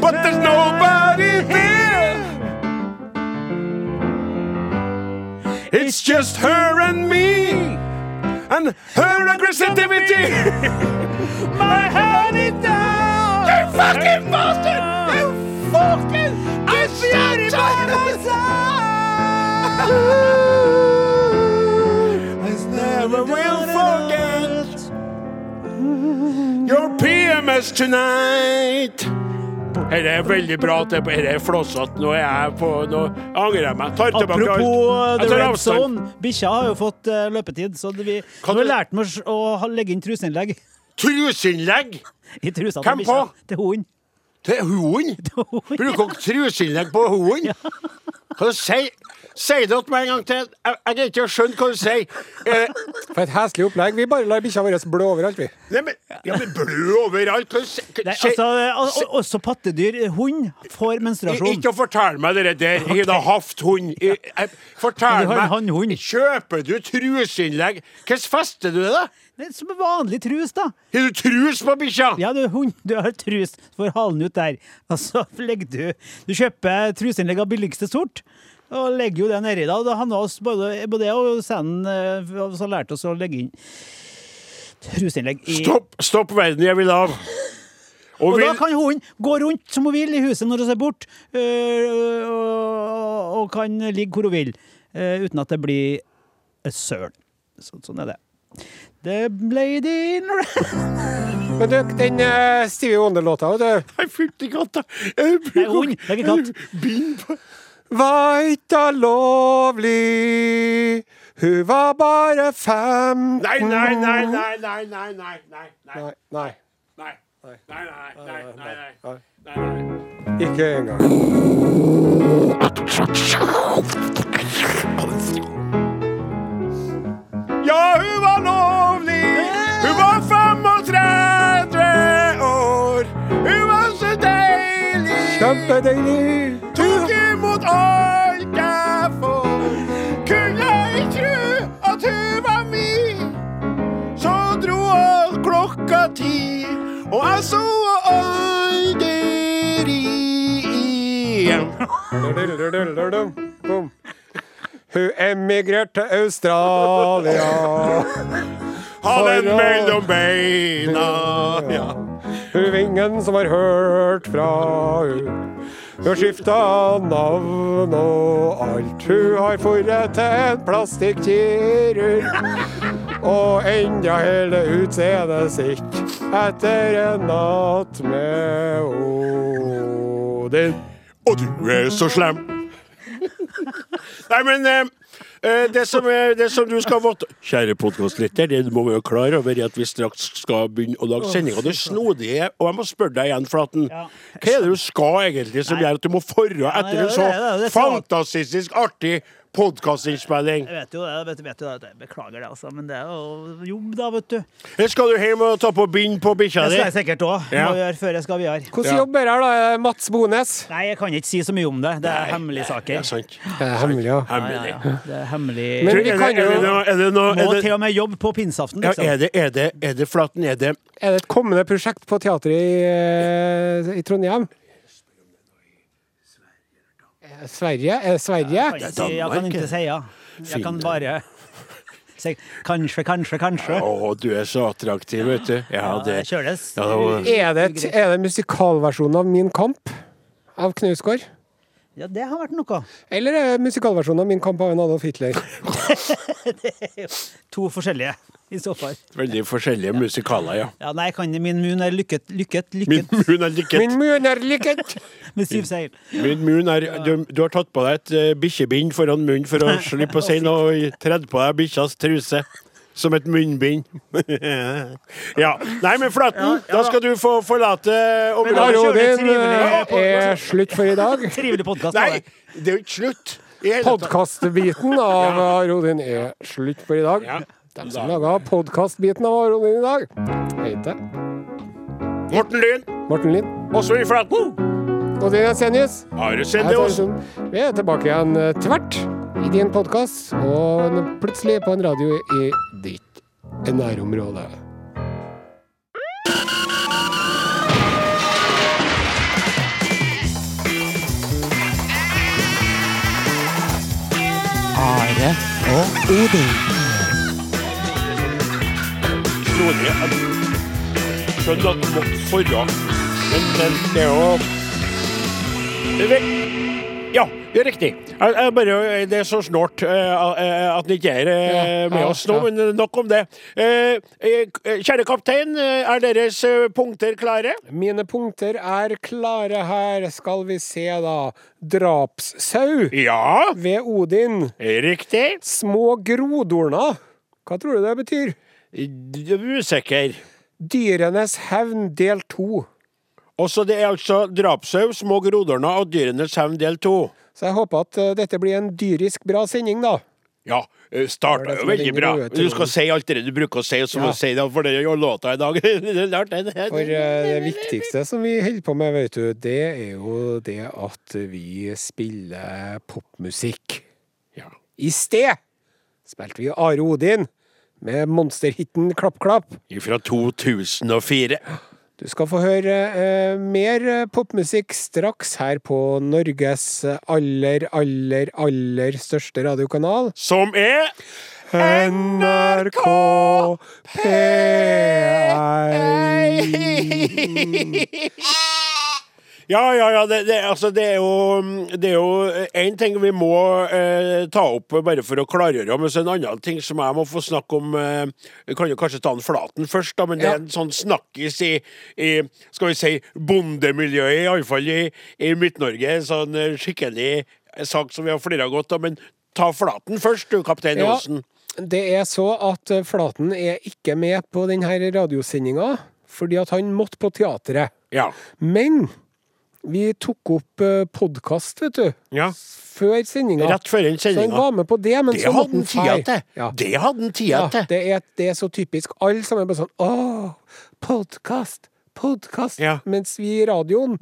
Speaker 2: But there's nobody there It's just her and me And her aggressivity My heart is down You fucking bastard You fucking I shot it by myself never will forget your PMS tonight. Dette er veldig bra. at det- Dette er flåsete. Nå er jeg på Nå angrer jeg meg. Tar tilbake alt.
Speaker 4: Apropos uh,
Speaker 2: Jeg
Speaker 4: The
Speaker 2: tar
Speaker 4: Red
Speaker 2: avstand.
Speaker 4: Zone. Bikkja har jo fått eh, løpetid, så det vi,
Speaker 2: Kan
Speaker 4: nå
Speaker 2: du-
Speaker 4: lærte vi oss å ha- legge inn truseinnlegg [laughs]
Speaker 2: Truseinnlegg!
Speaker 4: i trusa til
Speaker 2: Hvem
Speaker 4: bikkja.
Speaker 2: på?
Speaker 4: Til hunden.
Speaker 2: Til
Speaker 4: [laughs]
Speaker 2: hoen? Bruker dere truseinnlegg på hoen? Hva sier Sier dere meg en gang til? Jeg jeg greier ikke å skjønne hva du sier. Eh,
Speaker 3: For et heslig opplegg. Vi bare lar bikkja vår blø overalt, vi.
Speaker 2: nei, men, ja, men blø overalt. Hva sier
Speaker 4: Nei, altså, og- og- også pattedyr. Hund får
Speaker 2: I-
Speaker 4: menstruasjon.
Speaker 2: Ikke fortell meg det der. Jeg har haft hund. I- jeg- Fortell
Speaker 4: Du har en
Speaker 2: meg.
Speaker 4: hannhund.
Speaker 2: Kjøper du truseinnlegg? Hvordan fester du det, da?
Speaker 4: Det er som en vanlig trus,
Speaker 2: Har
Speaker 4: da.
Speaker 2: du trus på bikkja?
Speaker 4: Ja, du, hund, du har trus, så får halen ut der. Og så legger du Du kjøper truseinnlegg av billigste sort. Og legger jo det nedi da. Det handla oss både, både jeg og scenen eh, og så lærte oss å legge inn truseinnlegg i
Speaker 2: Stopp, stopp verden jeg vil av. Og
Speaker 4: Og da
Speaker 2: vil,
Speaker 4: kan hunden gå rundt som hun vil i huset når hun ser bort, øh, og, og kan ligge hvor hun vil, øh, uten at det blir øh, søl. Så, sånn er det. The lady in red
Speaker 3: Men du, den eh, Stevie Wonder-låta, vet du.
Speaker 2: Nei, fytti katta. Jeg
Speaker 4: Nei, hund. Det er ikke katt.
Speaker 2: Bind på
Speaker 3: Var ikke lovlig, hun var bare fem.
Speaker 2: Nei, nei, nei, nei, nei, nei, nei, nei, nei,
Speaker 3: Nei, nei,
Speaker 2: nei. Nei, nei, nei, nei, nei.
Speaker 3: nei.
Speaker 2: Nei, nei.
Speaker 3: Ikke engang.
Speaker 2: Ja, hun var lovlig. Hun var 35.
Speaker 3: Kjempedeilig!
Speaker 2: Tok imot alt jeg får. Kunne ei tru at hun var mi. Så dro alt klokka ti, og jeg så henne aldri igjen.
Speaker 3: Boom. Hun emigrerte til Australia.
Speaker 2: Ha den mellom beina. Ja.
Speaker 3: Hun vingen som har hørt fra hun. Hun har skifta navn og alt. Hun har forret til en plastikkirurg. Og enda hele utseendet sitt etter en natt med Odin.
Speaker 2: Og du er så slem. Nei, men eh, eh, det, som er, det som du skal våte Kjære podkastlytter, det du må være klar over, er at vi straks skal begynne å lage sending. Og det snodige Og jeg må spørre deg igjen, Flaten.
Speaker 4: Ja.
Speaker 2: Hva er det du skal egentlig som gjør at du må forre etter
Speaker 4: det
Speaker 2: en
Speaker 4: er
Speaker 2: så
Speaker 4: det, det er det, det er teat-
Speaker 2: fantastisk artig podkastinnspilling?
Speaker 4: Jeg vet jo det, jeg vet, vet jo det. Jeg beklager det, altså. Men det er jo jobb, da, vet du. Det
Speaker 2: Her Skal du hjem og ta på bind på bikkja
Speaker 4: skal
Speaker 2: di?
Speaker 4: jeg sikkert òg.
Speaker 2: Ja.
Speaker 4: Må gjøre før jeg skal videre.
Speaker 3: Hvordan
Speaker 2: Ja.
Speaker 3: jobber her, da? Er det Mats Bones?
Speaker 4: Nei, jeg kan ikke si så mye om det. Det er hemmelige
Speaker 2: Ja,
Speaker 4: saker.
Speaker 2: sant.
Speaker 3: Det er hemmelig, ja.
Speaker 2: Hemmelig.
Speaker 4: Ja, Det er hemmelig
Speaker 3: Men
Speaker 2: Er
Speaker 3: vi
Speaker 2: det-
Speaker 3: kan
Speaker 2: er det
Speaker 3: jo-
Speaker 2: noe- er det noe-
Speaker 4: Må
Speaker 2: er det-
Speaker 4: til og med jobbe på pinseaften,
Speaker 2: Ja,
Speaker 4: liksom.
Speaker 2: Er det- er det- er det Flaten? Er det
Speaker 3: Er det et kommende prosjekt på teatret i, eh, i Trondheim? Eh, Sverige? Er det Sverige?
Speaker 4: Jeg kan
Speaker 2: Det er
Speaker 4: ikke si- jeg kan
Speaker 2: Danmark,
Speaker 4: ikke si ja. Jeg kan bare si kanskje, kanskje, kanskje.
Speaker 2: Å, du er så attraktiv, vet du. Ja,
Speaker 4: Det
Speaker 2: det
Speaker 4: kjøles.
Speaker 2: Ja, det var-
Speaker 3: Er det, er det musikalversjonen av Min kamp av Knausgård?
Speaker 4: Ja, det har vært noe.
Speaker 3: Eller er det musikalversjonen av Min kamp av en Adolf Hitler?
Speaker 4: To forskjellige, i så fall.
Speaker 2: Veldig forskjellige musikaler, ja.
Speaker 4: Ja, nei, jeg kan Min munn er lykket, lykket,
Speaker 2: Min
Speaker 4: lykket
Speaker 2: munn er lykket.
Speaker 3: Min munn er lykket!
Speaker 4: med Siv Seil.
Speaker 2: Min munn er, du, du har tatt på deg et eh, bikkjebind foran munnen for [laughs] å slippe å si noe og tredd på deg bikkjas truse. Som et munnbind. [laughs] ja. Nei, men Flaten, da skal du få forlate
Speaker 3: Are
Speaker 2: området.
Speaker 4: jo-
Speaker 3: Odin eh, er slutt for i dag.
Speaker 4: Trivelig podkast.
Speaker 2: Nei, det er jo ikke slutt. I hele tatt.
Speaker 3: Podkastbiten av Are Odin er slutt for i dag.
Speaker 2: Ja.
Speaker 3: De som laga podkastbiten av Are Odin i dag, heter
Speaker 2: Morten Lyn,
Speaker 3: Morten Lind,
Speaker 2: Åsmund Flaten,
Speaker 3: Odin Jensenius
Speaker 2: Are
Speaker 3: Jeg tar
Speaker 2: Sendeås.
Speaker 3: en stund. Vi er tilbake igjen eh, tvert i din podkast, og n- plutselig på en radio i ditt nærområde.
Speaker 2: Snodig. Jeg skjønner at du må forre, men men det er jo Det er vi- Ja, det er riktig. Jeg, jeg bare, det er så snålt eh, at det ikke er eh,
Speaker 3: Ja,
Speaker 2: med
Speaker 3: ja,
Speaker 2: oss nå,
Speaker 3: ja.
Speaker 2: men nok om det. Eh, eh, Kjære kaptein, eh, er deres eh, punkter klare?
Speaker 3: Mine punkter er klare her, skal vi se da. Drapssau
Speaker 2: Ja,
Speaker 3: ved Odin.
Speaker 2: riktig.
Speaker 3: Små grodorner. Hva tror du det betyr?
Speaker 2: Du er usikker.
Speaker 3: Dyrenes hevn del to.
Speaker 2: Også det er altså drapsau, små grodorna og dyrenes hevn del to.
Speaker 3: Så jeg håper at eh, dette blir en dyrisk bra sending, da.
Speaker 2: Ja, eh,
Speaker 3: Det
Speaker 2: starta
Speaker 3: var det
Speaker 2: jo
Speaker 3: som
Speaker 2: veldig
Speaker 3: ringer
Speaker 2: bra.
Speaker 3: røde
Speaker 2: Du
Speaker 3: toner.
Speaker 2: skal si alt det du bruker å si, og så må
Speaker 3: Ja.
Speaker 2: du si det, for det er jo låta i dag. [laughs] Det er klart, det er-
Speaker 3: For eh, det viktigste som vi holder på med, vet du, det er jo det at vi spiller popmusikk.
Speaker 2: Ja.
Speaker 3: I sted spilte vi Are Odin med monsterhiten Klapp Klapp.
Speaker 2: Fra 2004.
Speaker 3: Du skal få høre eh, mer eh, popmusikk straks her på Norges aller, aller, aller største radiokanal.
Speaker 2: Som er
Speaker 3: NRK P1.
Speaker 2: Ja, ja, ja. Det, det, altså, det er jo Det er jo én ting vi må eh, ta opp bare for å klargjøre, men så en annen ting som jeg må få snakke om eh, Vi kan jo kanskje ta den Flaten først, da, men det
Speaker 3: Ja.
Speaker 2: er en sånn snakkis i, i skal vi si, bondemiljøet, iallfall i, i Midt-Norge. En sånn eh, skikkelig sak som vi har flira godt av. Men ta Flaten først, du, kaptein
Speaker 3: Ja,
Speaker 2: Olsen.
Speaker 3: det er så at eh, Flaten er ikke med på denne radiosendinga, fordi at han måtte på teatret.
Speaker 2: Ja.
Speaker 3: Men vi tok opp podkast, vet du,
Speaker 2: ja.
Speaker 3: før sendinga.
Speaker 2: Rett før den
Speaker 3: Så han
Speaker 2: sendinga.
Speaker 3: var med på det, men
Speaker 2: Det
Speaker 3: så måtte
Speaker 2: hadde han
Speaker 3: han
Speaker 2: tida
Speaker 3: feire.
Speaker 2: til!
Speaker 3: Ja.
Speaker 2: Det hadde han tida
Speaker 3: Ja,
Speaker 2: til!
Speaker 3: det, er, det er så typisk. Alle sammen er bare sånn Å, podkast! podkast,
Speaker 2: Ja. Mm.
Speaker 3: mens vi i radioen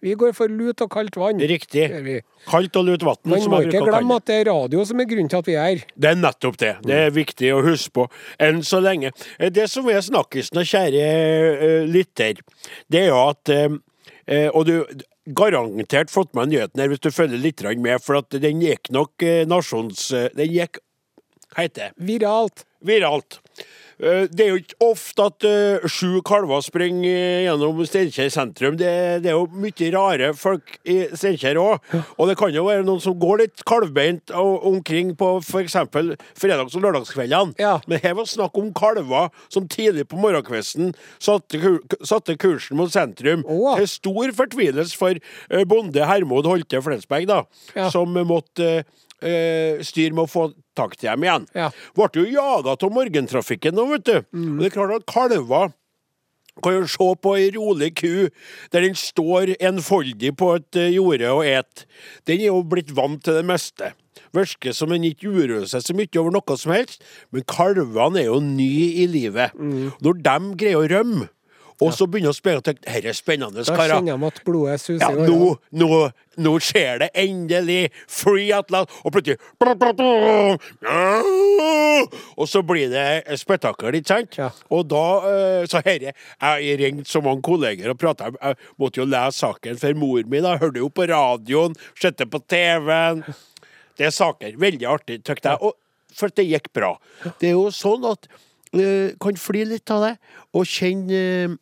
Speaker 3: Vi går for lut og kaldt vann.
Speaker 2: Riktig.
Speaker 3: Gjør vi.
Speaker 2: Kaldt og lut vann,
Speaker 3: Man
Speaker 2: som
Speaker 3: må
Speaker 2: jeg
Speaker 3: ikke
Speaker 2: bruker å kalle
Speaker 3: glemme
Speaker 2: det.
Speaker 3: at det er radio som er grunnen til at vi er her.
Speaker 2: Det er nettopp det. Det er viktig å huske på enn så lenge. Eh, Det som er snakkisen, da, kjære eh, lytter, det er jo at eh, eh, Og du garantert fått med nyheten her hvis du følger litt grann med, for at den gikk nok eh, nasjons... eh, Den gikk Hva heter det?
Speaker 3: Viralt.
Speaker 2: viralt. Eh, Det er jo ikke ofte at eh, sju kalver springer eh, gjennom Steinkjer sentrum. Det, det er jo mye rare folk i Steinkjer òg. Og det kan jo være noen som går litt kalvbeint o- omkring på f.eks. fredags- og lørdagskveldene.
Speaker 3: Ja.
Speaker 2: Men her var snakk om kalver som tidlig på morgenkvisten satte, kur k- satte kursen mot sentrum.
Speaker 3: Åh.
Speaker 2: Til stor fortvilelse for eh, bonde Hermod Holte Flensberg, da,
Speaker 3: Ja.
Speaker 2: som eh, måtte eh, eh, styre med å få tak til dem igjen
Speaker 3: Ja. Mm.
Speaker 2: ble jo jaga av morgentrafikken nå, vet du. Og det er klart at kalver kan jo se på ei rolig ku der den står enfoldig på et eh, jorde og et. Den er jo blitt vant til det meste. Virker som den ikke uroer seg så mye over noe som helst, men kalvene er jo nye i livet.
Speaker 3: Mm.
Speaker 2: Når de greier å rømme, og så begynner å spørre at dette er spennende,
Speaker 3: Da
Speaker 2: karer.
Speaker 3: kjenner de at blodet suser.
Speaker 2: Ja,
Speaker 3: i årene.
Speaker 2: nå, nå, nå skjer det endelig! Free at last! Og plutselig Og så blir det spetakkel, ikke sant?
Speaker 3: Ja.
Speaker 2: Og da eh, Så herre, jeg ringte så mange kolleger og prata. Jeg måtte jo lese saken for mor mi, da. Hørte jo på radioen, sett det på TV-en. Det er saker. Veldig artig, tykte jeg. Og, for det gikk bra. Det er jo sånn at eh, Kan fly litt av det, og kjenne eh,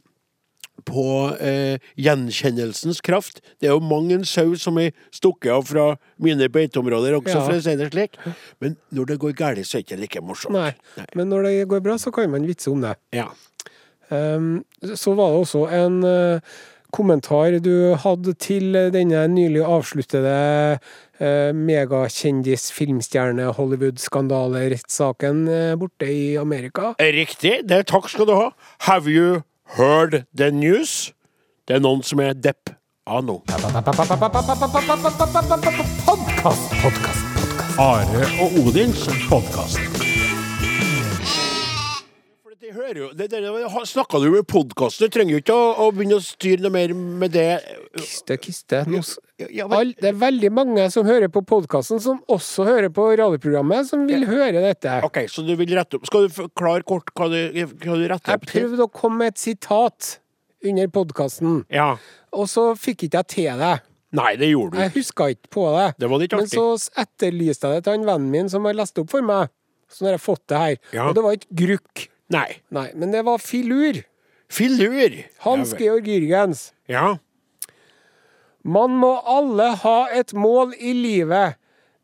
Speaker 2: på eh, gjenkjennelsens kraft. Det er jo mang en sau som er stukket av fra mine beiteområder også,
Speaker 3: Ja.
Speaker 2: for å si det slik. Men når det går galt, så er det ikke like morsomt.
Speaker 3: Nei. Men når det går bra, så kan man vitse om det.
Speaker 2: Ja.
Speaker 3: Um, så var det også en eh, kommentar du hadde til denne nylig avsluttede uh, megakjendis-filmstjerne-Hollywood-skandalerettssaken eh, borte i Amerika.
Speaker 2: Riktig. Det er takk skal du ha. Have you heard the news? Det er noen som er depp av nå. Are og Odins podkast. Snakka du med podkast? Du trenger jo ikke å, å begynne å styre noe mer med det
Speaker 3: Kiste, kiste. Nå, s-
Speaker 2: Ja, men-
Speaker 3: all, det er veldig mange som hører på podkasten, som også hører på radioprogrammet, som vil høre dette.
Speaker 2: Ok, så du vil rette opp Skal du forklare kort hva du, hva du retter
Speaker 3: Jeg
Speaker 2: opp til?
Speaker 3: prøvde å komme med et sitat under podkasten,
Speaker 2: Ja.
Speaker 3: og så fikk ikke jeg til det.
Speaker 2: Nei, det gjorde du.
Speaker 3: Jeg huska ikke på det.
Speaker 2: Det var litt
Speaker 3: Men
Speaker 2: artig.
Speaker 3: så etterlyste jeg det til han vennen min som har lest opp for meg. Så nå har jeg fått det her.
Speaker 2: Ja.
Speaker 3: Og det var ikke grukk.
Speaker 2: Nei.
Speaker 3: Nei, men det var filur.
Speaker 2: Filur!
Speaker 3: Hans
Speaker 2: Ja,
Speaker 3: Georg Jürgens.
Speaker 2: vel. Ja.
Speaker 3: Man må alle ha et mål i livet.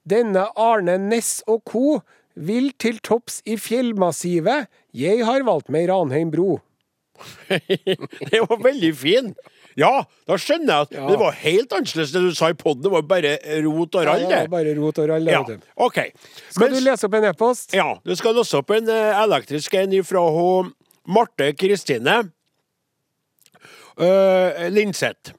Speaker 3: Denne Arne Næss og co. vil til topps i fjellmassivet. Jeg har valgt meg Ranheim bro.
Speaker 2: [laughs] Det var veldig fin. Ja, da skjønner jeg at
Speaker 3: Ja.
Speaker 2: Men Det var helt annerledes det du sa i poden. Det var bare rot og rall,
Speaker 3: Ja,
Speaker 2: det.
Speaker 3: var bare rot og rall. det,
Speaker 2: Ja,
Speaker 3: vet du.
Speaker 2: OK.
Speaker 3: Skal
Speaker 2: Mens-
Speaker 3: du lese opp en e-post?
Speaker 2: Ja, du skal låse opp en eh, elektrisk en fra hun Marte Kristine uh, Linseth.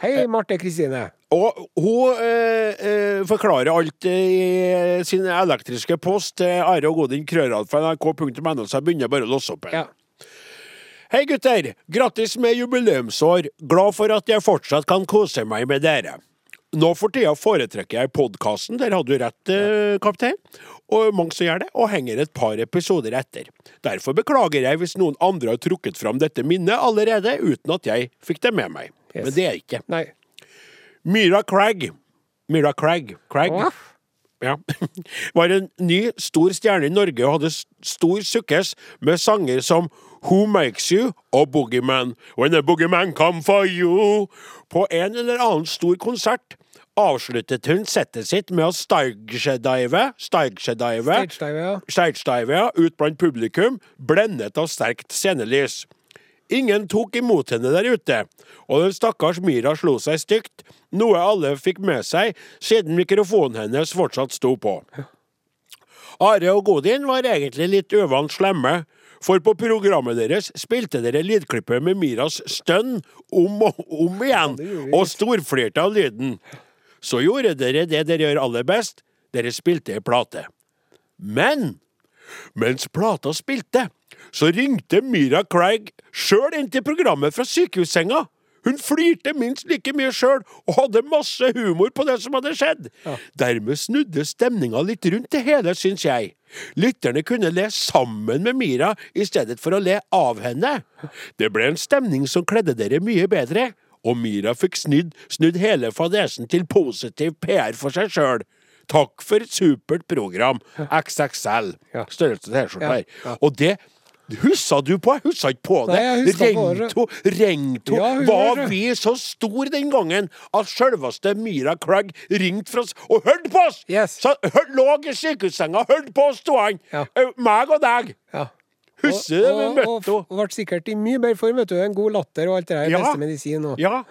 Speaker 3: Hei, Marte Kristine.
Speaker 2: Og hun eh, eh, forklarer alt eh, i sin elektriske post til Are og Godin Krøral fra nrk.no, så jeg begynner bare å låse opp.
Speaker 3: Ja.
Speaker 2: en. Hei, gutter! Grattis med jubileumsår. Glad for at jeg fortsatt kan kose meg med dere. Nå for tida foretrekker jeg podkasten, der hadde du rett, eh, kaptein. Og mange som gjør det, og henger et par episoder etter. Derfor beklager jeg hvis noen andre har trukket fram dette minnet allerede, uten at jeg fikk det med meg.
Speaker 3: Yes.
Speaker 2: Men det er ikke.
Speaker 3: Nei.
Speaker 2: Myra Cragg Myra Cragg, Cragg
Speaker 3: Åh.
Speaker 2: ja. [laughs] var en ny, stor stjerne i Norge og hadde s- stor sukkes med sanger som Who Makes You og Boogeyman. When the Boogeyman come for you På en eller annen stor konsert avsluttet hun settet sitt med å stigedive Stigedive
Speaker 3: Stagedive, ja.
Speaker 2: Steinsdeive, ja, ut blant publikum, blendet av sterkt scenelys. Ingen tok imot henne der ute, og den stakkars Myra slo seg stygt, noe alle fikk med seg siden mikrofonen hennes fortsatt sto på. Are og Godin var egentlig litt uvant slemme, for på programmet deres spilte dere lydklippet med Myras stønn om og om igjen, og storflirte av lyden. Så gjorde dere det dere gjør aller best, dere spilte en plate. Men Mens plata spilte, så ringte Myra Craig sjøl inn til programmet fra sykehussenga. Hun flirte minst like mye sjøl, og hadde masse humor på det som hadde skjedd. Dermed snudde stemninga litt rundt det hele, syns jeg. Lytterne kunne le sammen med Myra i stedet for å le av henne. Det ble en stemning som kledde dere mye bedre, og Myra fikk snudd, snudd hele fadesen til positiv PR for seg sjøl. Takk for et supert program. XXL.
Speaker 3: Ja.
Speaker 2: Størrelse til T-skjorte her.
Speaker 3: Ja.
Speaker 2: Og det hussa du på? Jeg huska ikke på det.
Speaker 3: Nei, jeg huska på det.
Speaker 2: Ringto, ringto.
Speaker 3: Ja, hun gjorde
Speaker 2: var
Speaker 3: det.
Speaker 2: vi så stor den gangen at sjølveste Myra Craig ringte fra oss og hørte på oss!
Speaker 3: Yes.
Speaker 2: Så hør, lå i sykehussenga, hørte på oss toene.
Speaker 3: Ja.
Speaker 2: Eh, Meg og deg.
Speaker 3: Ja.
Speaker 2: Husker du det? Vi
Speaker 3: og,
Speaker 2: møtte
Speaker 3: og,
Speaker 2: henne.
Speaker 3: og ble sikkert i mye bedre form, vet du. En god latter og alt det der.
Speaker 2: Ja.
Speaker 3: Beste medisin og
Speaker 2: Ja.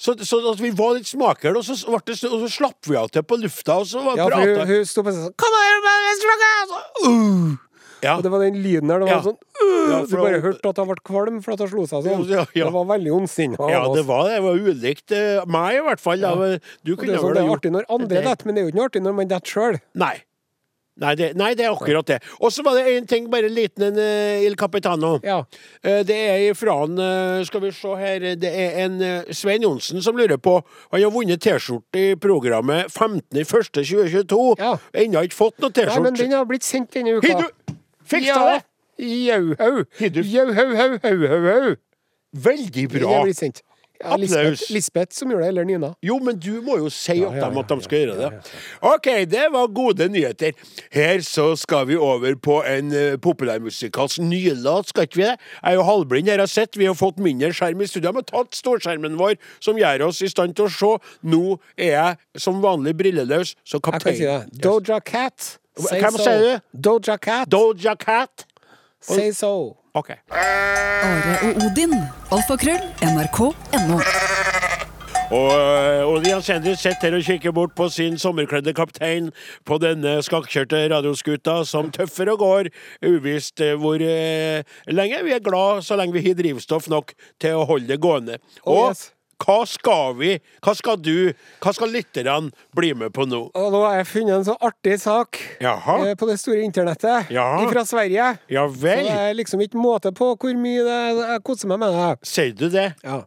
Speaker 2: Så, så at vi var litt smakere, og så, ble det, så- og så slapp vi av til på lufta, og så var
Speaker 3: Ja, for hun,
Speaker 2: prata
Speaker 3: hun sto på sånn Kom her, bare slakk av!» Så, «Uh!»
Speaker 2: Ja.
Speaker 3: Og det var den lyden der. Det var
Speaker 2: Ja.
Speaker 3: sånn «Uh!»
Speaker 2: Ja, for
Speaker 3: Du bare
Speaker 2: hun-
Speaker 3: hørte at hun ble kvalm for at hun slo seg sånn.
Speaker 2: Ja, ja.
Speaker 3: Det var veldig ondsinna. av
Speaker 2: Ja,
Speaker 3: oss.
Speaker 2: det var det. Det var ulikt eh, meg, i hvert fall. Da. Du
Speaker 3: altså. Og det
Speaker 2: kunne
Speaker 3: er sånn, det
Speaker 2: vel ha
Speaker 3: er
Speaker 2: gjort
Speaker 3: artig når andre
Speaker 2: Det-
Speaker 3: detter, men det er jo ikke noe artig når man detter sjøl.
Speaker 2: Nei. Nei det, nei, det er akkurat det. Og så var det én ting, bare en liten en, eh, Il Capitano.
Speaker 3: Ja.
Speaker 2: Eh, Det er ifra en eh, Skal vi se her eh, Det er en eh, Svein Johnsen som lurer på Han har vunnet T-skjorte i programmet 15.1.2022.
Speaker 3: Ja.
Speaker 2: Ennå ikke fått noe
Speaker 3: Nei, men
Speaker 2: T-skjorte.
Speaker 3: den har blitt sendt denne uka.
Speaker 2: sånn Hei, du! Fiksa det!
Speaker 3: Jau, hau.
Speaker 2: Hei, du.
Speaker 3: Jau, hau, hau, hau, hau, hau.
Speaker 2: Veldig
Speaker 3: Den
Speaker 2: bra.
Speaker 3: har blitt sendt. Ja,
Speaker 2: Applaus.
Speaker 3: Lisbeth, Lisbeth som gjorde det, eller Nina.
Speaker 2: Jo, men du må jo si opp
Speaker 3: ja,
Speaker 2: dem
Speaker 3: ja,
Speaker 2: at de skal gjøre det. OK, det var gode nyheter. Her så skal vi over på en uh, populærmusikalsk nylåt, skal ikke vi det? Jeg er jo halvblind, dere har sett. Vi har fått mindre skjerm i studio, men tatt storskjermen vår, som gjør oss i stand til å se. Nå er jeg som vanlig brilleløs, så
Speaker 3: Jeg kan
Speaker 2: kaptein
Speaker 3: si det. Doja Cat. Say
Speaker 2: Hvem
Speaker 3: so.
Speaker 2: sier du?
Speaker 3: Doja Cat.
Speaker 2: Doja Cat.
Speaker 3: Say so.
Speaker 2: OK.
Speaker 1: Are og Odin. Alfakrøll. NRK.no.
Speaker 2: Og, øh, og de har senere sett her og kikker bort på sin sommerkledde kaptein på denne skakkjørte radioskuta som tøffer og går, uvisst øh, hvor øh, lenge. Vi er glad så lenge vi har drivstoff nok til å holde det gående.
Speaker 3: Oh,
Speaker 2: Og
Speaker 3: yes.
Speaker 2: hva skal vi, hva skal du, hva skal lytterne bli med på nå?
Speaker 3: Og nå har jeg funnet en så artig sak
Speaker 2: Jaha.
Speaker 3: eh, på det store internettet
Speaker 2: Ja.
Speaker 3: fra Sverige.
Speaker 2: Ja
Speaker 3: Så det
Speaker 2: vel,
Speaker 3: er liksom ikke måte på hvor mye det, jeg koser meg med det.
Speaker 2: sier du det?
Speaker 3: Ja.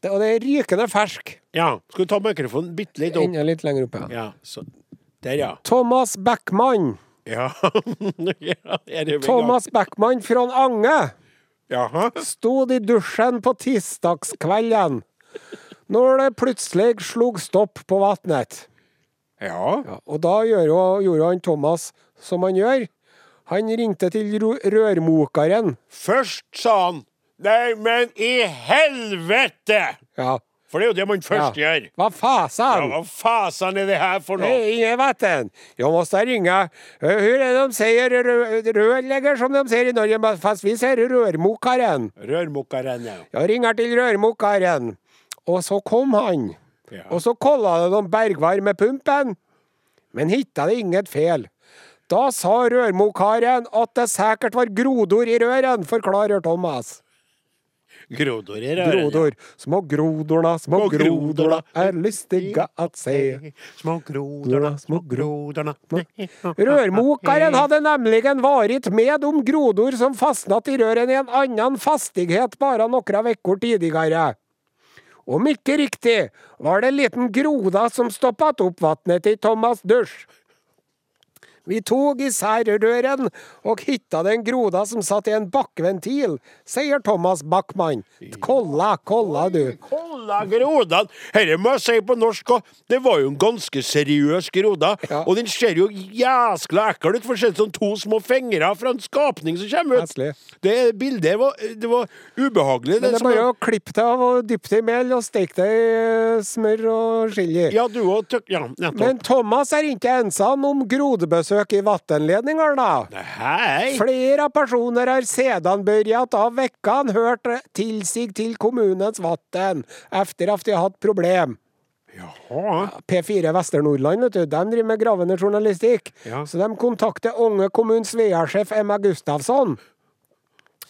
Speaker 3: det. Og det er rykende fersk.
Speaker 2: Ja. Skal du ta mikrofonen bitte litt opp?
Speaker 3: Enda litt lenger opp, ja.
Speaker 2: Ja, sånn. Der, ja.
Speaker 3: Thomas Backman.
Speaker 2: Ja. [laughs] ja er det vel
Speaker 3: Thomas Backman fra Ange
Speaker 2: Jaha.
Speaker 3: stod i dusjen på tirsdagskvelden når det plutselig slo stopp på vannet.
Speaker 2: Ja.
Speaker 3: Ja, og da gjør jo, gjorde han Thomas som han gjør. Han ringte til ro- rørmokeren.
Speaker 2: Først sa han Nei, men i helvete!
Speaker 3: Ja.
Speaker 2: For det er jo det man først
Speaker 3: ja.
Speaker 2: gjør.
Speaker 3: Hva
Speaker 2: Ja,
Speaker 3: fasen?
Speaker 2: hva fasan er det her for noe?
Speaker 3: Hej, jag vet den. Jag måste ringa. Eh, Hur är de säger rö- rörlägger som de säger i Norge, men fast vi säger rörmokaren.
Speaker 2: Rørmokeren, ja.
Speaker 3: Jag ringer till rörmokaren. Och så kom han.
Speaker 2: Ja.
Speaker 3: Och så kollade de bergvärmepumpen. Men hittade inget fel. Då sa rörmokaren att det säkert var grodor i rören, förklarar Thomas.
Speaker 2: Grodor i røret.
Speaker 3: Grodor, små grodorna, små
Speaker 2: Små
Speaker 3: grodorna
Speaker 2: grodorna
Speaker 3: är lustiga att se.
Speaker 2: Små grodorna, små grodorna
Speaker 3: Rørmokeren hadde nemlig varit med om grodor som fastnat i røren i en annen fastighet bare noen vekker tidligere. Om ikke riktig, var det en liten groda som stoppet opp vannet til Thomas dusj. Vi tog især røren og hitta den groda som satt i en bakkventil, sier Thomas Backman. Kolla, kolla du.
Speaker 2: Kolla grodan! Herre må jeg si på norsk òg, det var jo en ganske seriøs groda.
Speaker 3: Ja.
Speaker 2: Og den ser jo jæskla ekkel ut, for det ser ut som to små fingre fra en skapning som kommer ut.
Speaker 3: Heslig.
Speaker 2: Det bildet var, det var ubehagelig.
Speaker 3: Men det er
Speaker 2: som-
Speaker 3: bare å klippe det av og dyppe det i mel og steke det i eh, smør og chili.
Speaker 2: Ja, du òg tøk... Ja, nettopp.
Speaker 3: Men Thomas er ikke ensam om grodebesøk i vattenledninger, da.
Speaker 2: Hei!
Speaker 3: Flere personer har sedan börjat av veckan hørt til sig til kommunens vatten efter at de hatt problem.
Speaker 2: Jaha.
Speaker 3: P4 Vesternordland, vet du, de driver med gravende journalistikk.
Speaker 2: Ja.
Speaker 3: Så de kontakter Ånge kommuns VR-sjef Emma Gustavsson.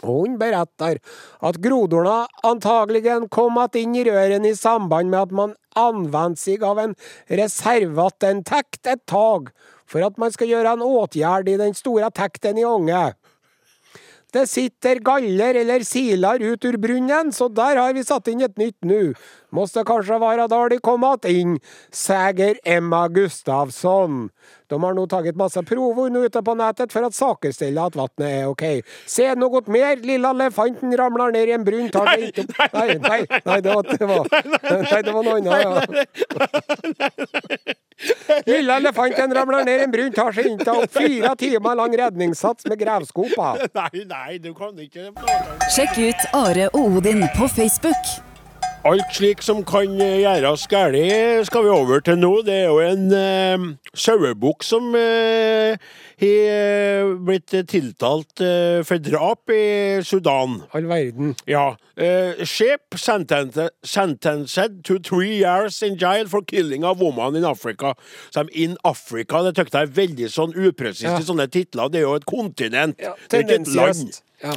Speaker 3: Hun beretter at grodorna antageligen kom att inn i røren i samband med at man anvendte seg av en reservattenntekt et tag, for at man skal gjøre en åtgjerd i den store tekten i ånget. Det sitter galler eller silar ut ur brunnen, så der har vi satt inn et nytt nu. Måste kanskje være der de kom att inn, säger Emma Gustavsson. De har nå taget masse prover nå ute på nettet for å sakerstille at vannet er ok. Se noe mer, lilla elefanten ramler ned i en brunn, tar det ikke opp Nei, nei, nei, det var, det var, nei, det var noe annet, ja. Lille elefanten ramler ned i en brunn, tar seg inntil opp fire timer lang redningssats med grevskopa.
Speaker 2: Nei, nei, du kan ikke plage
Speaker 1: Sjekk ut Are og Odin på Facebook.
Speaker 2: Alt slik som kan eh, gjøres gærlig skal vi over til nå. Det er jo en eh, sauebukk som eh, har eh, blitt eh, tiltalt eh, for drap i Sudan.
Speaker 3: All verden.
Speaker 2: Ja. Eh, ship sentence, sentenced to three years in jail for killing of woman in Africa. Så de in Africa, det tykte jeg er veldig sånn upresist
Speaker 3: Ja.
Speaker 2: i sånne titler. Det er jo et kontinent. det er ikke et land.
Speaker 3: Tendensiøst. Ja.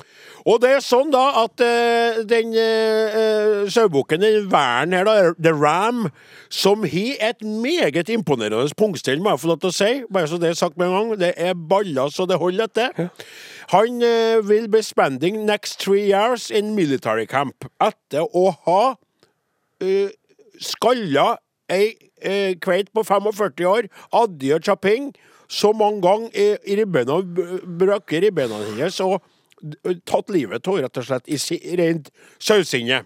Speaker 2: Og det er sånn da at eh, den uh, sauebukken, den væren her, da, The Ram, som har et meget imponerende pungstell, må jeg få lov til å si, bare så det er sagt med en gang, det er baller så det holder etter. Han eh, will be spending next three years in military camp etter å ha eh, skalla ei eh, kveit på 45 år, Adia Chaping, så mange ganger i, i ribbena, b- brøkket ribbena hennes og d- tatt livet av, rett og slett, i si, rent sausinne.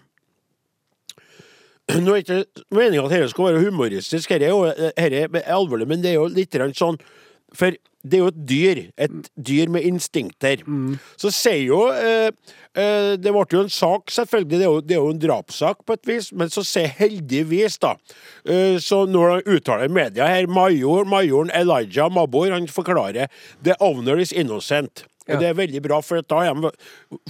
Speaker 2: Nå er ikke meninga at dette skal være humoristisk, dette er, jo, eh, dette er alvorlig, men det er jo litt grann sånn For det er jo et dyr. Et dyr med instinkter. Så sier jo eh, eh, Det ble jo en sak, selvfølgelig. Det er, jo, det er jo en drapssak på et vis, men så sier heldigvis, da eh, Så når han uttaler i media her, major, majoren Elijah Mabor, han forklarer The owner is innocent.
Speaker 3: Ja.
Speaker 2: Og det er veldig bra, for da har de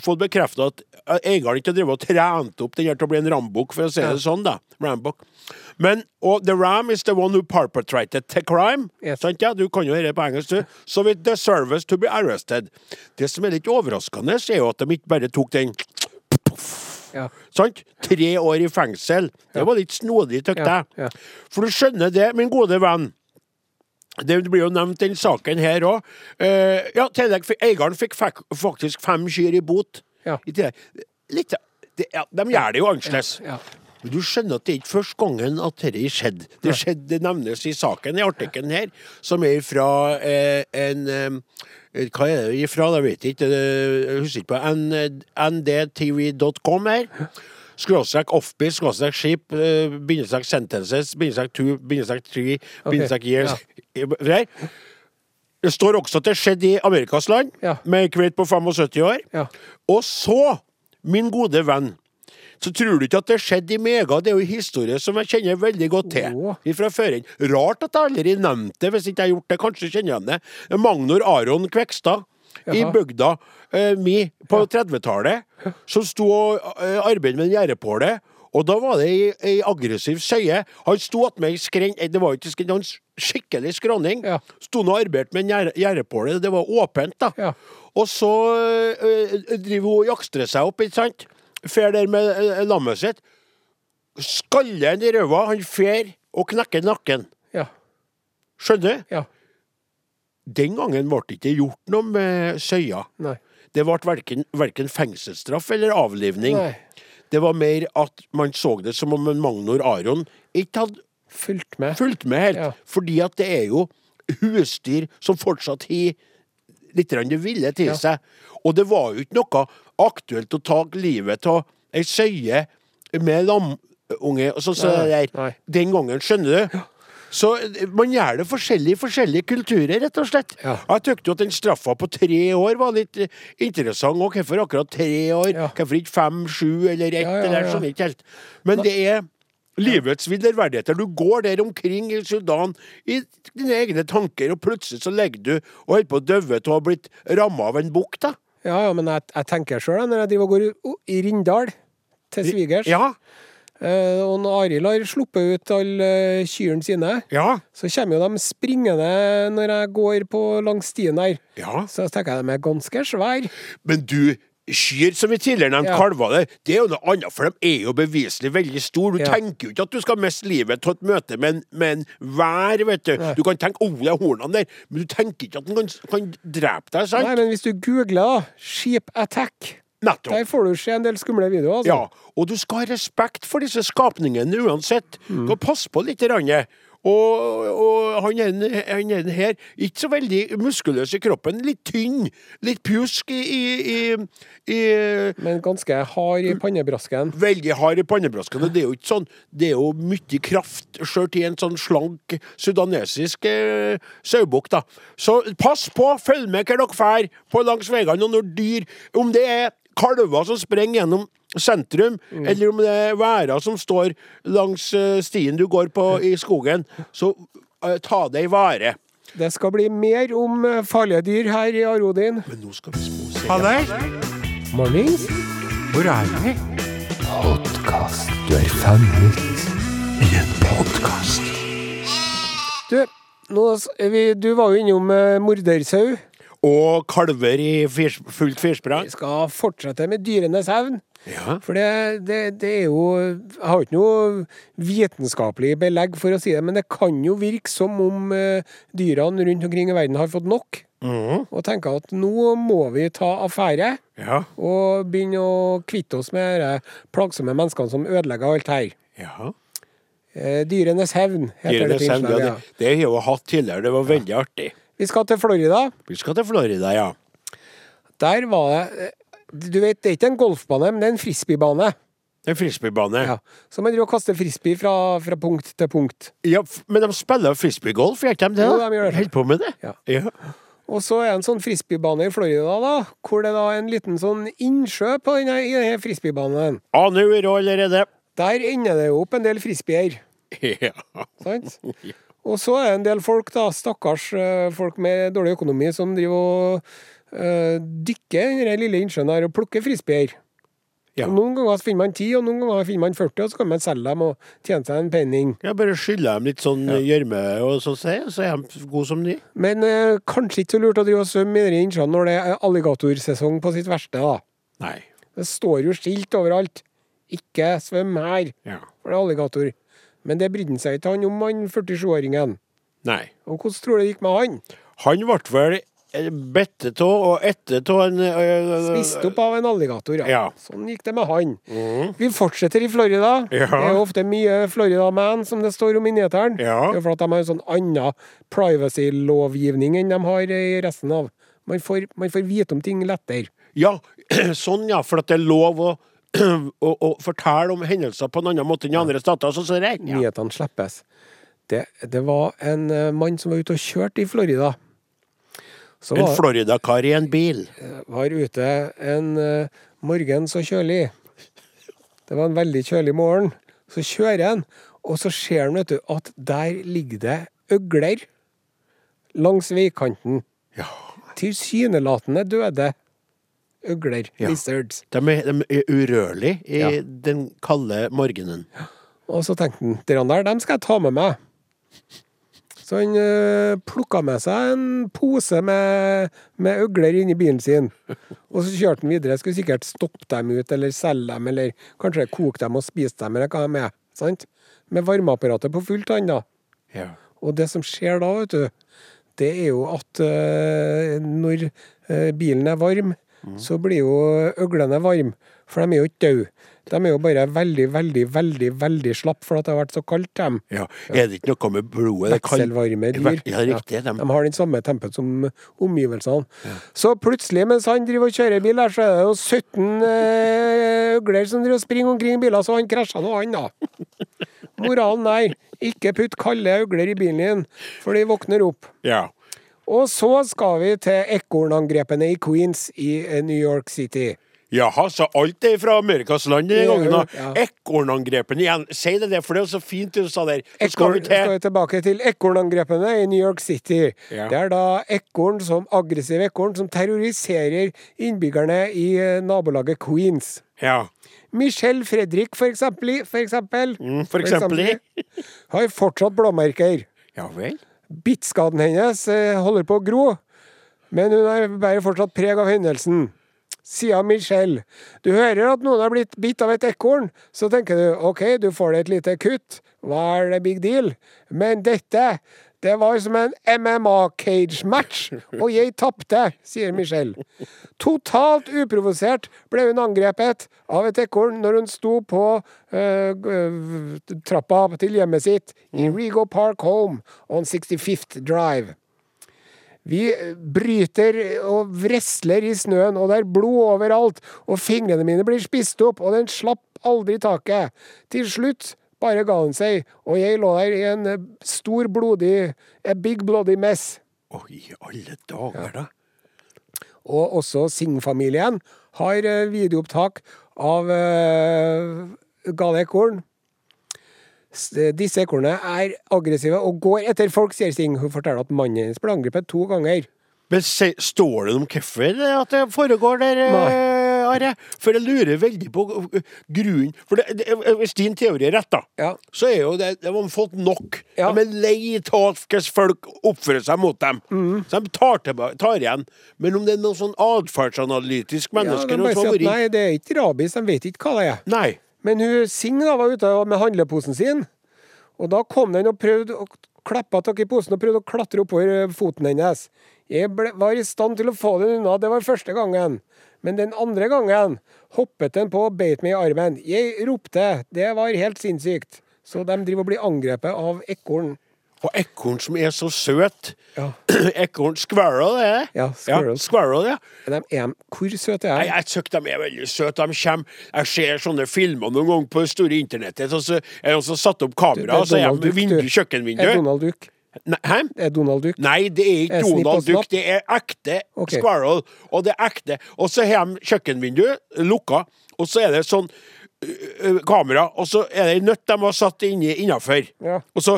Speaker 2: fått bekrefta at eieren ikke har drevet og trent opp den her til å bli en rambukk, for å si det sånn, da. Rambukk. Men og the ram is the one who perpetrated the crime.
Speaker 3: Yes.
Speaker 2: Sant, ja? Du kan jo dette på engelsk, du. So it deserves to be arrested. Det som er litt overraskende, er jo at de ikke bare tok den
Speaker 3: Ja.
Speaker 2: Sant? Tre år i fengsel. Det var litt snodig, tykte
Speaker 3: Ja,
Speaker 2: jeg.
Speaker 3: ja.
Speaker 2: For du skjønner det, min gode venn. Det blir jo nevnt den saken her òg. ja, tillegg fikk, eieren fikk fak- faktisk fem kyr i bot.
Speaker 3: Ja.
Speaker 2: I tillegg. Litt, det, ja, de gjør det jo annerledes.
Speaker 3: Ja.
Speaker 2: Men du skjønner at det er ikke første gangen at dette skjedde. Det skjedde, det nevnes i saken, i artikkelen her, som er fra eh, en eh, Hva er det ifra, det vet jeg ikke, det, jeg husker ikke på N- eh, ndtv.com her. Skråstrek offbeat, skråstrek skip, eh, bindestrek sentences, bindestrek two, bindestrek three, bindestrek years. [laughs] Der. Det står også at det skjedde i Amerikas land,
Speaker 3: Ja.
Speaker 2: med en kveit på 75 år.
Speaker 3: Ja.
Speaker 2: Og så, min gode venn, så tror du ikke at det skjedde i Mega? Det er jo en historie som jeg kjenner veldig godt til.
Speaker 3: Åh.
Speaker 2: Fra før inn. Rart at jeg aldri nevnte det, hvis ikke jeg har gjort det. Kanskje kjenner jeg det. Magnor Aron Kvekstad. I
Speaker 3: Jaha.
Speaker 2: bygda eh, mi på 30-tallet, som sto og eh, arbeidet med en gjerdepåle. Og da var det ei, ei aggressiv søye. Han sto attmed ei skrent eh, Det var jo ikke skrent, han s- skikkelig skråning.
Speaker 3: Ja.
Speaker 2: Sto nå og arbeidet med en gjerde- gjerdepåle. Det var åpent, da.
Speaker 3: Ja.
Speaker 2: Og så ø, ø, driver hun og jakstrer seg opp, ikke sant? Fer der med ø, lammet sitt. Skaller han i røva, han fer og knekker nakken.
Speaker 3: Ja.
Speaker 2: Skjønner?
Speaker 3: Ja.
Speaker 2: Den gangen ble det ikke gjort noe med søya.
Speaker 3: Nei.
Speaker 2: Det ble verken, verken fengselsstraff eller avlivning.
Speaker 3: Nei.
Speaker 2: Det var mer at man så det som om en Magnor Aron ikke hadde
Speaker 3: Fulgt med.
Speaker 2: fulgt med helt.
Speaker 3: Ja.
Speaker 2: Fordi at det er jo husdyr som fortsatt har litt grann det ville til
Speaker 3: Ja.
Speaker 2: seg. Og det var jo ikke noe aktuelt å ta livet av ei søye med lamunge og sånn som
Speaker 3: Nei, nei.
Speaker 2: det der. Den gangen, skjønner du? Så eh, man gjør det forskjellig i forskjellige kulturer, rett og slett.
Speaker 3: Ja.
Speaker 2: Og Jeg tykte jo at den straffa på tre år var litt eh, interessant. Og hvorfor akkurat tre år?
Speaker 3: Ja.
Speaker 2: Hvorfor ikke fem, sju eller ett?
Speaker 3: Ja, ja, ja.
Speaker 2: eller sånn, ikke helt. Men det er livets viderverdigheter. Du går der omkring i Sudan i dine egne tanker, og plutselig så ligger du og holder på å døve av å ha blitt ramma av en bukk, da.
Speaker 3: Ja, ja, men jeg, jeg tenker sjøl, når jeg driver og går u- i Rindal til svigers,
Speaker 2: Ja,
Speaker 3: eh, og når Arild har sluppet ut alle eh, kyrne sine,
Speaker 2: ja,
Speaker 3: så kommer jo de springende når jeg går på langs stien her.
Speaker 2: ja.
Speaker 3: Så jeg tenker jeg de er ganske svære.
Speaker 2: Men du, Kyr, som vi tidligere nevnte,
Speaker 3: Ja.
Speaker 2: kalver det, det er jo noe annet, for de er jo beviselig veldig store. Du
Speaker 3: Ja.
Speaker 2: tenker jo ikke at du skal miste livet av et møte med en- med en vær, vet du. Du kan tenke 'å, det er hornene der', men du tenker ikke at den kan, kan drepe deg, sant?
Speaker 3: Nei, men hvis du googler da, Sheep Attack,
Speaker 2: Nettopp.
Speaker 3: der får du se en del skumle videoer.
Speaker 2: Ja,
Speaker 3: Altså.
Speaker 2: og du skal ha respekt for disse skapningene uansett. Du skal passe på litt. Ranne. Og, og han ene han ene her, ikke så veldig muskuløs i kroppen, litt tynn. Litt pjusk i, i, i, i
Speaker 3: Men ganske hard i pannebrasken.
Speaker 2: veldig hard i pannebrasken. og Det er jo ikke sånn, det er jo mye kraft skjørt i en sånn slank sudanesisk eh, sauebukk, da. Så pass på, følg med hvor dere drar på langs veiene, og når dyr Om det er kalver som sprenger gjennom sentrum, eller om det er værer som står langs eh, stien du går på i skogen, så eh, ta det i vare.
Speaker 3: Det skal bli mer om eh, farlige dyr her i Arodin.
Speaker 2: Men nå skal vi spose.
Speaker 3: Mornings. Du, nå, s- vi, du var jo innom eh, mordersau.
Speaker 2: Og kalver i firs, fullt firsprang.
Speaker 3: Vi skal fortsette med dyrenes hevn.
Speaker 2: Ja.
Speaker 3: For det, det, det er jo Jeg har ikke noe vitenskapelig belegg for å si det, men det kan jo virke som om eh, dyrene rundt omkring i verden har fått nok. Og tenker at nå må vi ta affære
Speaker 2: Ja.
Speaker 3: og begynne å kvitte oss med de plagsomme menneskene som ødelegger alt her.
Speaker 2: ja.
Speaker 3: Eh, dyrenes hevn heter
Speaker 2: Dyrene
Speaker 3: det.
Speaker 2: selv,
Speaker 3: innslaget,
Speaker 2: ja,
Speaker 3: ja.
Speaker 2: det, det har jeg jo hatt tidligere, det var veldig artig.
Speaker 3: Vi skal til Florida.
Speaker 2: Vi skal til Florida, ja.
Speaker 3: Der var det eh, Du vet, det er ikke en golfbane, men det er en frisbeebane.
Speaker 2: En frisbeebane. Ja.
Speaker 3: Ja. Så man driver og kaster frisbee fra, fra punkt til punkt.
Speaker 2: f- men de spiller frisbeegolf, gjør ikke de det?
Speaker 3: Jo,
Speaker 2: da?
Speaker 3: de gjør det.
Speaker 2: Helt på med det?
Speaker 3: Ja.
Speaker 2: Ja.
Speaker 3: Og så er det en sånn frisbeebane i Florida, da, hvor det da er en liten sånn innsjø på denne, i denne frisbeebanen.
Speaker 2: Ah, nå er det allerede. [laughs]
Speaker 3: Der ender det jo opp en del frisbeer,
Speaker 2: Ja.
Speaker 3: sant? Og så er det en del folk, da, stakkars eh, folk med dårlig økonomi, som driver og eh, dykker i denne lille innsjøen her og plukker frisbeer.
Speaker 2: Ja.
Speaker 3: Og Noen ganger så finner man 10, og noen ganger finner man 40, og så kan man selge dem og tjene seg en penning.
Speaker 2: Jeg bare skyller dem litt sånn gjørme, og så, sier jeg, så er de gode som de.
Speaker 3: Men eh, kanskje ikke så lurt å drive og svømme i denne innsjøen når det er alligatorsesong på sitt verste, da.
Speaker 2: Nei.
Speaker 3: Det står jo skilt overalt. Ikke svøm her,
Speaker 2: Ja.
Speaker 3: for det er alligator. Men det brydde han seg ikke han om, han 47-åringen.
Speaker 2: Nei.
Speaker 3: Og hvordan tror du det gikk med han?
Speaker 2: Han ble vel eh, bettet av og ettet av en eh,
Speaker 3: Spist opp av en alligator, ja.
Speaker 2: Ja. Mhm.
Speaker 3: Sånn gikk det med han. Vi fortsetter i Florida.
Speaker 2: Ja.
Speaker 3: Det er jo ofte mye Florida-man, som det står om i nyhetene.
Speaker 2: Ja.
Speaker 3: Det er jo for at de har en sånn annen privacy-lovgivning enn de har i resten av Man får, man får vite om ting lettere.
Speaker 2: Ja, [clears throat] sånn ja, for at det er lov å, [clears throat] å, å fortelle om hendelser på en annen måte enn i andre stater. Så, så det, ja.
Speaker 3: nyhetene slippes. Det, det var en eh, mann som var ute og kjørte i Florida. Så
Speaker 2: En
Speaker 3: var,
Speaker 2: Florida-kar i en bil.
Speaker 3: var ute en eh, morgen så kjølig. Det var en veldig kjølig morgen. Så kjører han, og så ser han vet du, at der ligger det øgler langs veikanten.
Speaker 2: Ja.
Speaker 3: Tilsynelatende døde øgler. Lizards.
Speaker 2: De er, de er urørlige i
Speaker 3: Ja.
Speaker 2: den kalde morgenen.
Speaker 3: Og så tenkte han, de der, dem skal jeg ta med meg. Så han øh, plukka med seg en pose med, med øgler inni bilen sin. Og så kjørte han videre. Skulle sikkert stoppe dem ut, eller selge dem, eller kanskje koke dem og spise dem, eller hva de er. Sant? Med varmeapparatet på fullt, han da.
Speaker 2: Ja.
Speaker 3: Og det som skjer da, vet du, det er jo at øh, når øh, bilen er varm, så blir jo øglene varme. For de er jo ikke døde. De er jo bare veldig, veldig, veldig veldig slapp for at det har vært så kaldt til dem.
Speaker 2: Er det ikke noe med blodet? Det kan-
Speaker 3: Vekselvarme dyr.
Speaker 2: Ja, riktig.
Speaker 3: Ja,
Speaker 2: De,
Speaker 3: de har den samme tempen som omgivelsene. Så plutselig, mens han driver og kjører bil, her, så er det jo 17 øh, øgler som driver og springer omkring biler, så han krasja nå, han, da. Moralen er ikke putt kalde øgler i bilen din, for de våkner opp.
Speaker 2: ja.
Speaker 3: Og så skal vi til ekornangrepene i Queens i eh, New York City.
Speaker 2: Jaha, så alt er fra Amerikas land denne
Speaker 3: Ja,
Speaker 2: gangen. da.
Speaker 3: ja.
Speaker 2: Ekornangrepene igjen. Si det der, for det er så fint det du sa der. Så skal
Speaker 3: Ekorn,
Speaker 2: vi til
Speaker 3: skal vi tilbake til ekornangrepene i New York City.
Speaker 2: Ja.
Speaker 3: Det er da ekorn som aggressiv ekorn som terroriserer innbyggerne i eh, nabolaget Queens.
Speaker 2: Ja.
Speaker 3: Michelle Fredrik, for eksempel, i- for eksempel,
Speaker 2: Mm, for eksempel i.
Speaker 3: i- har fortsatt blåmerker.
Speaker 2: Ja vel.
Speaker 3: Bittskaden hennes eh, holder på å gro, men hun er- bærer fortsatt preg av hendelsen. sier Michelle. Du hører at noen har blitt bitt av et ekorn, så tenker du OK, du får deg et lite kutt, hva er det big deal? Men dette, det var som en MMA-cage-match, og jeg tapte, sier Michelle. Totalt uprovosert ble hun angrepet av et ekorn når hun sto på eh, g- trappa til hjemmet sitt i Rego Park Home on 65th Drive. Vi bryter og vresler i snøen, og det er blod overalt, og fingrene mine blir spist opp, og den slapp aldri taket. Til slutt bare ga den seg, og jeg lå der i en eh, stor blodig A big bloody mess.
Speaker 2: Å, i alle dager, da.
Speaker 3: Og også Singh-familien har eh, videoopptak av uh, gale ekorn. S- eh, Disse ekornene er aggressive og går etter folk, sier Singh. Hun forteller at mannen hennes ble angrepet to ganger.
Speaker 2: Men se, står det noe om hvorfor det- at det foregår der, eh, Are? For jeg lurer veldig på eh, grunnen. For det, det, hvis din teori er rett, da,
Speaker 3: Ja.
Speaker 2: så er jo det De har fått nok.
Speaker 3: Ja.
Speaker 2: De er lei av hvordan folk oppfører seg mot dem.
Speaker 3: Mm.
Speaker 2: Så de tar, tilba- tar igjen. Men om det er noen sånn atferdsanalytisk
Speaker 3: Ja,
Speaker 2: mennesker
Speaker 3: de bare
Speaker 2: som har
Speaker 3: sier at
Speaker 2: vært
Speaker 3: nei, det er ikke rabies, de vet ikke hva det er.
Speaker 2: Nei.
Speaker 3: Men hun Sing da var ute med handleposen sin, og da kom den og prøvde å klappe tak i posen og prøvde å klatre oppover eh, foten hennes. Jeg ble, var i stand til å få den unna, det var første gangen. Men den andre gangen hoppet den på og beit meg i armen. Jeg ropte, det var helt sinnssykt. Så de driver og blir angrepet av ekorn.
Speaker 2: Og ekorn som er så søt.
Speaker 3: Ja.
Speaker 2: [clears throat] Ekorn Squirrel, det er det?
Speaker 3: Ja, squirrel.
Speaker 2: Ja, squirrel, ja.
Speaker 3: De er, hvor søte er
Speaker 2: Nei,
Speaker 3: de?
Speaker 2: jeg syns de er veldig søte. De kommer, jeg ser sånne filmer noen ganger på det store internettet. Og så er de også satt
Speaker 3: Det
Speaker 2: opp
Speaker 3: er
Speaker 2: kamera, og så er
Speaker 3: Donald Duck,
Speaker 2: de ved vindu,
Speaker 3: du. Er
Speaker 2: kjøkkenvinduet.
Speaker 3: Donald Duck?
Speaker 2: Nei, hæ?
Speaker 3: Er Donald Duck?
Speaker 2: Nei, det er ikke
Speaker 3: Er Snipp og
Speaker 2: Donald Duck.
Speaker 3: Snapp?
Speaker 2: Det er ekte
Speaker 3: Ok.
Speaker 2: squirrel. Og det er ekte. Og så har de kjøkkenvinduet lukka, og så er det sånn ø, ø, kamera, og så er det en nøtt de har satt inni innafor.
Speaker 3: Ja.
Speaker 2: Og så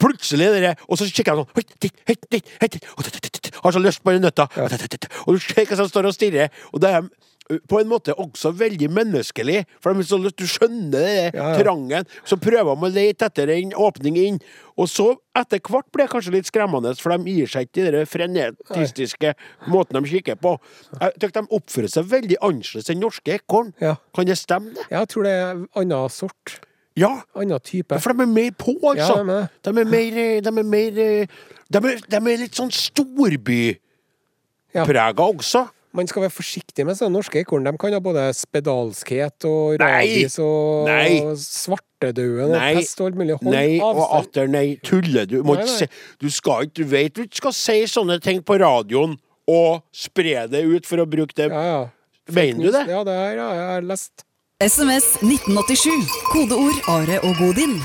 Speaker 2: plutselig er det der, Og så kikker jeg sånn «Hoi, titt, hei, titt, hei, titt», og titt, titt, titt, Har så lyst på den nøtta. Og du ser hvordan de står og stirrer. Og det er ø, på en måte også veldig menneskelig, for de er så lyst, du skjønner det
Speaker 3: Ja, ja.
Speaker 2: trangen. Så prøver de å lete etter en åpning inn. Og så, etter hvert, blir det kanskje litt skremmende, for de gir seg ikke i den frenetistiske måten de kikker på. Jeg syns de oppfører seg veldig annerledes enn norske ekorn.
Speaker 3: Ja.
Speaker 2: Kan det stemme, det?
Speaker 3: Jeg tror det er annen sort.
Speaker 2: Ja.
Speaker 3: Annen type.
Speaker 2: For de er mer på, altså.
Speaker 3: Ja, de er.
Speaker 2: de er mer eh, De er mer eh, De er, de er litt sånn storbyprega
Speaker 3: Ja.
Speaker 2: også.
Speaker 3: Man skal være forsiktig med sånne norske ekorn. De kan ha både spedalskhet og
Speaker 2: Nei!
Speaker 3: rabies og
Speaker 2: Nei!
Speaker 3: svartedauden og
Speaker 2: Nei.
Speaker 3: pest og alt mulig. Hold
Speaker 2: Nei, og
Speaker 3: avstand.
Speaker 2: atter nei. Tuller du? Må
Speaker 3: Nei,
Speaker 2: ikke
Speaker 3: nei.
Speaker 2: si Du skal ikke Du vet du ikke skal si sånne ting på radioen og spre det ut for å bruke det.
Speaker 3: Ja, ja.
Speaker 2: Mener du det?
Speaker 3: Ja, det har jeg- jeg har lest.
Speaker 1: SMS 1987. Kodeord Are og Odin.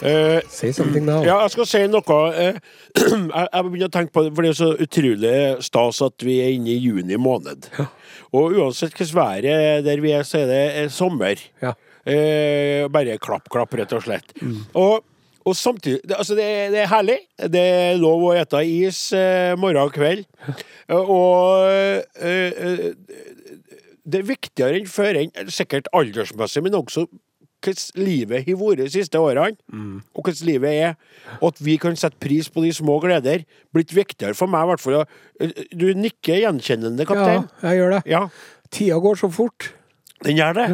Speaker 2: Eh,
Speaker 3: Say something now.
Speaker 2: ja, jeg skal si noe. eh, [clears throat] jeg jeg begynner å tenke på det, for det er så utrolig stas at vi er inne i juni måned. Og uansett hvordan været er der vi er, så er det eh, sommer.
Speaker 3: Ja.
Speaker 2: Eh, bare klapp, klapp, rett og slett. Og, og samtidig det- Altså, det, er- det er herlig. Det er lov å ete is eh, morgen og kveld. Eh, Og eh, eh, det er viktigere enn før, enn sikkert aldersmessig, men også hvordan livet har vært de siste årene, og hvordan livet er. Og at vi kan sette pris på de små gleder, blitt viktigere for meg, i hvert fall. eh, Du nikker gjenkjennende,
Speaker 3: ja,
Speaker 2: kaptein.
Speaker 3: jeg gjør det.
Speaker 2: Ja,
Speaker 3: Tida går så fort.
Speaker 2: den gjør det.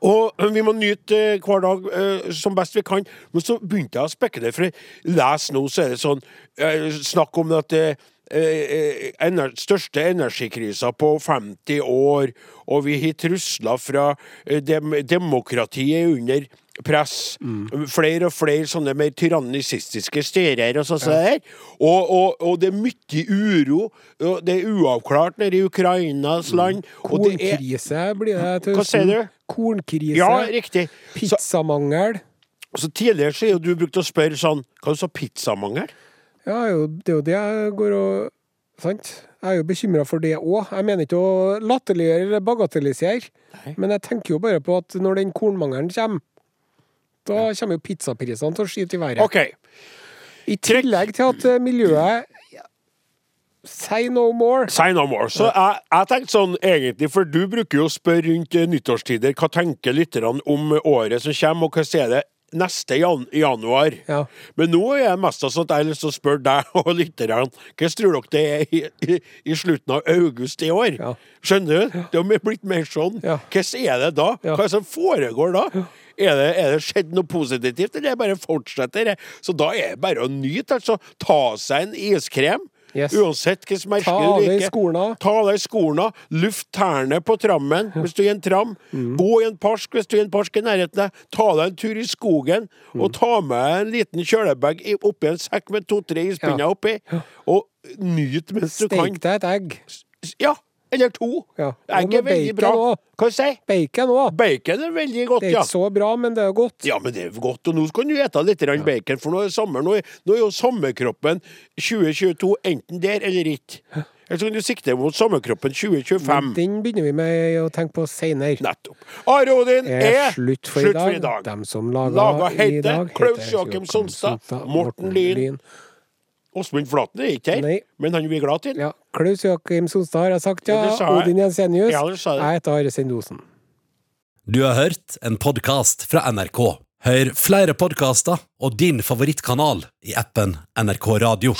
Speaker 2: Og ø, vi må nyte ø, hver dag ø, som best vi kan. Men så begynte jeg å spekke det, for les nå, så er det sånn ø, Snakk om at ø, ø, ø, ener, største energikrisa på 50 år, og vi har trusler fra ø, dem, demokratiet er under press. Flere og flere sånne mer tyrannisistiske styrer og sånn. der. Og, og, og det er mye uro. og Det er uavklart nede i Ukrainas land. Og det er
Speaker 3: Kornkrise blir det til
Speaker 2: Hva sier
Speaker 3: høsten.
Speaker 2: du?
Speaker 3: Kornkrise.
Speaker 2: ja, riktig. Så,
Speaker 3: Pizzamangel.
Speaker 2: så tidligere så er jo du brukt å spørre sånn Hva sa pizzamangel?
Speaker 3: Ja, jo, det er jo det jeg går og Sant? Jeg er jo bekymra for det òg. Jeg mener ikke å latterliggjøre eller bagatellisere,
Speaker 2: Nei.
Speaker 3: men jeg tenker jo bare på at når den kornmangelen kommer, da kommer jo pizzaprisene til å skyte i været.
Speaker 2: OK.
Speaker 3: I tillegg til at eh, miljøet Say no more.
Speaker 2: Say no more. Så jeg, jeg tenkte sånn egentlig, for du bruker jo å spørre rundt eh, nyttårstider hva tenker lytterne om året som kommer, og hva er det neste jan januar.
Speaker 3: Ja.
Speaker 2: Men nå er jeg mest av sånn at jeg har lyst til å spørre deg [laughs] og lytterne Hvordan tror dere det er i, i, i slutten av august i år?
Speaker 3: Ja.
Speaker 2: Skjønner du? Det har blitt mer sånn.
Speaker 3: Ja.
Speaker 2: Hvordan er det da?
Speaker 3: Ja.
Speaker 2: Hva er det som foregår da? Er det, er det skjedd noe positivt, eller er det bare fortsetter det? Så da er det bare å nyte, altså. Ta seg en iskrem.
Speaker 3: Yes.
Speaker 2: Uansett hvilket merke
Speaker 3: Ta av
Speaker 2: du
Speaker 3: deg
Speaker 2: liker.
Speaker 3: skorene.
Speaker 2: Ta av deg skorene. Luft tærne på trammen hvis du er i en tram.
Speaker 3: Mm.
Speaker 2: Gå i en park hvis du er i en park i nærheten. av deg. Ta deg en tur i skogen,
Speaker 3: Mm.
Speaker 2: og ta med en liten kjølebag i- oppi en sekk med to-tre ispinner
Speaker 3: Ja.
Speaker 2: oppi, og nyt mens du kan.
Speaker 3: Steik deg et egg.
Speaker 2: Ja, eller to.
Speaker 3: Ja. Og
Speaker 2: Egg er
Speaker 3: med
Speaker 2: veldig
Speaker 3: bacon
Speaker 2: bra.
Speaker 3: også.
Speaker 2: Hva sier jeg?
Speaker 3: Bacon òg.
Speaker 2: Bacon er veldig godt,
Speaker 3: Det er
Speaker 2: ja.
Speaker 3: ikke så bra, men det er jo godt.
Speaker 2: Ja, men det er jo godt, og nå skal du ete litt grann bacon, for nå er det sommer. Nå er, nå er jo sommerkroppen 2022 enten der eller ikke. Eller så kan du sikte mot sommerkroppen 2025.
Speaker 3: Den begynner vi med å tenke på seinere.
Speaker 2: Nettopp. Are Odin
Speaker 3: Er slutt for i dag. Dem som laga,
Speaker 2: Laga
Speaker 3: i
Speaker 2: heter
Speaker 3: dag, heter
Speaker 2: Klaus Joakim Sonstad, Morten Lien. Åsmund Flaten er ikke her,
Speaker 3: Nei.
Speaker 2: men han er vi glad til.
Speaker 3: Ja. Klaus Joakim Sonstad har jeg sagt, ja.
Speaker 2: Ja, det sa jeg.
Speaker 3: Odin Jensenius.
Speaker 2: Ja, det sa jeg.
Speaker 3: jeg heter Are Sendosen.
Speaker 5: Du har hørt en podkast fra NRK. Hør flere podkaster og din favorittkanal i appen NRK Radio.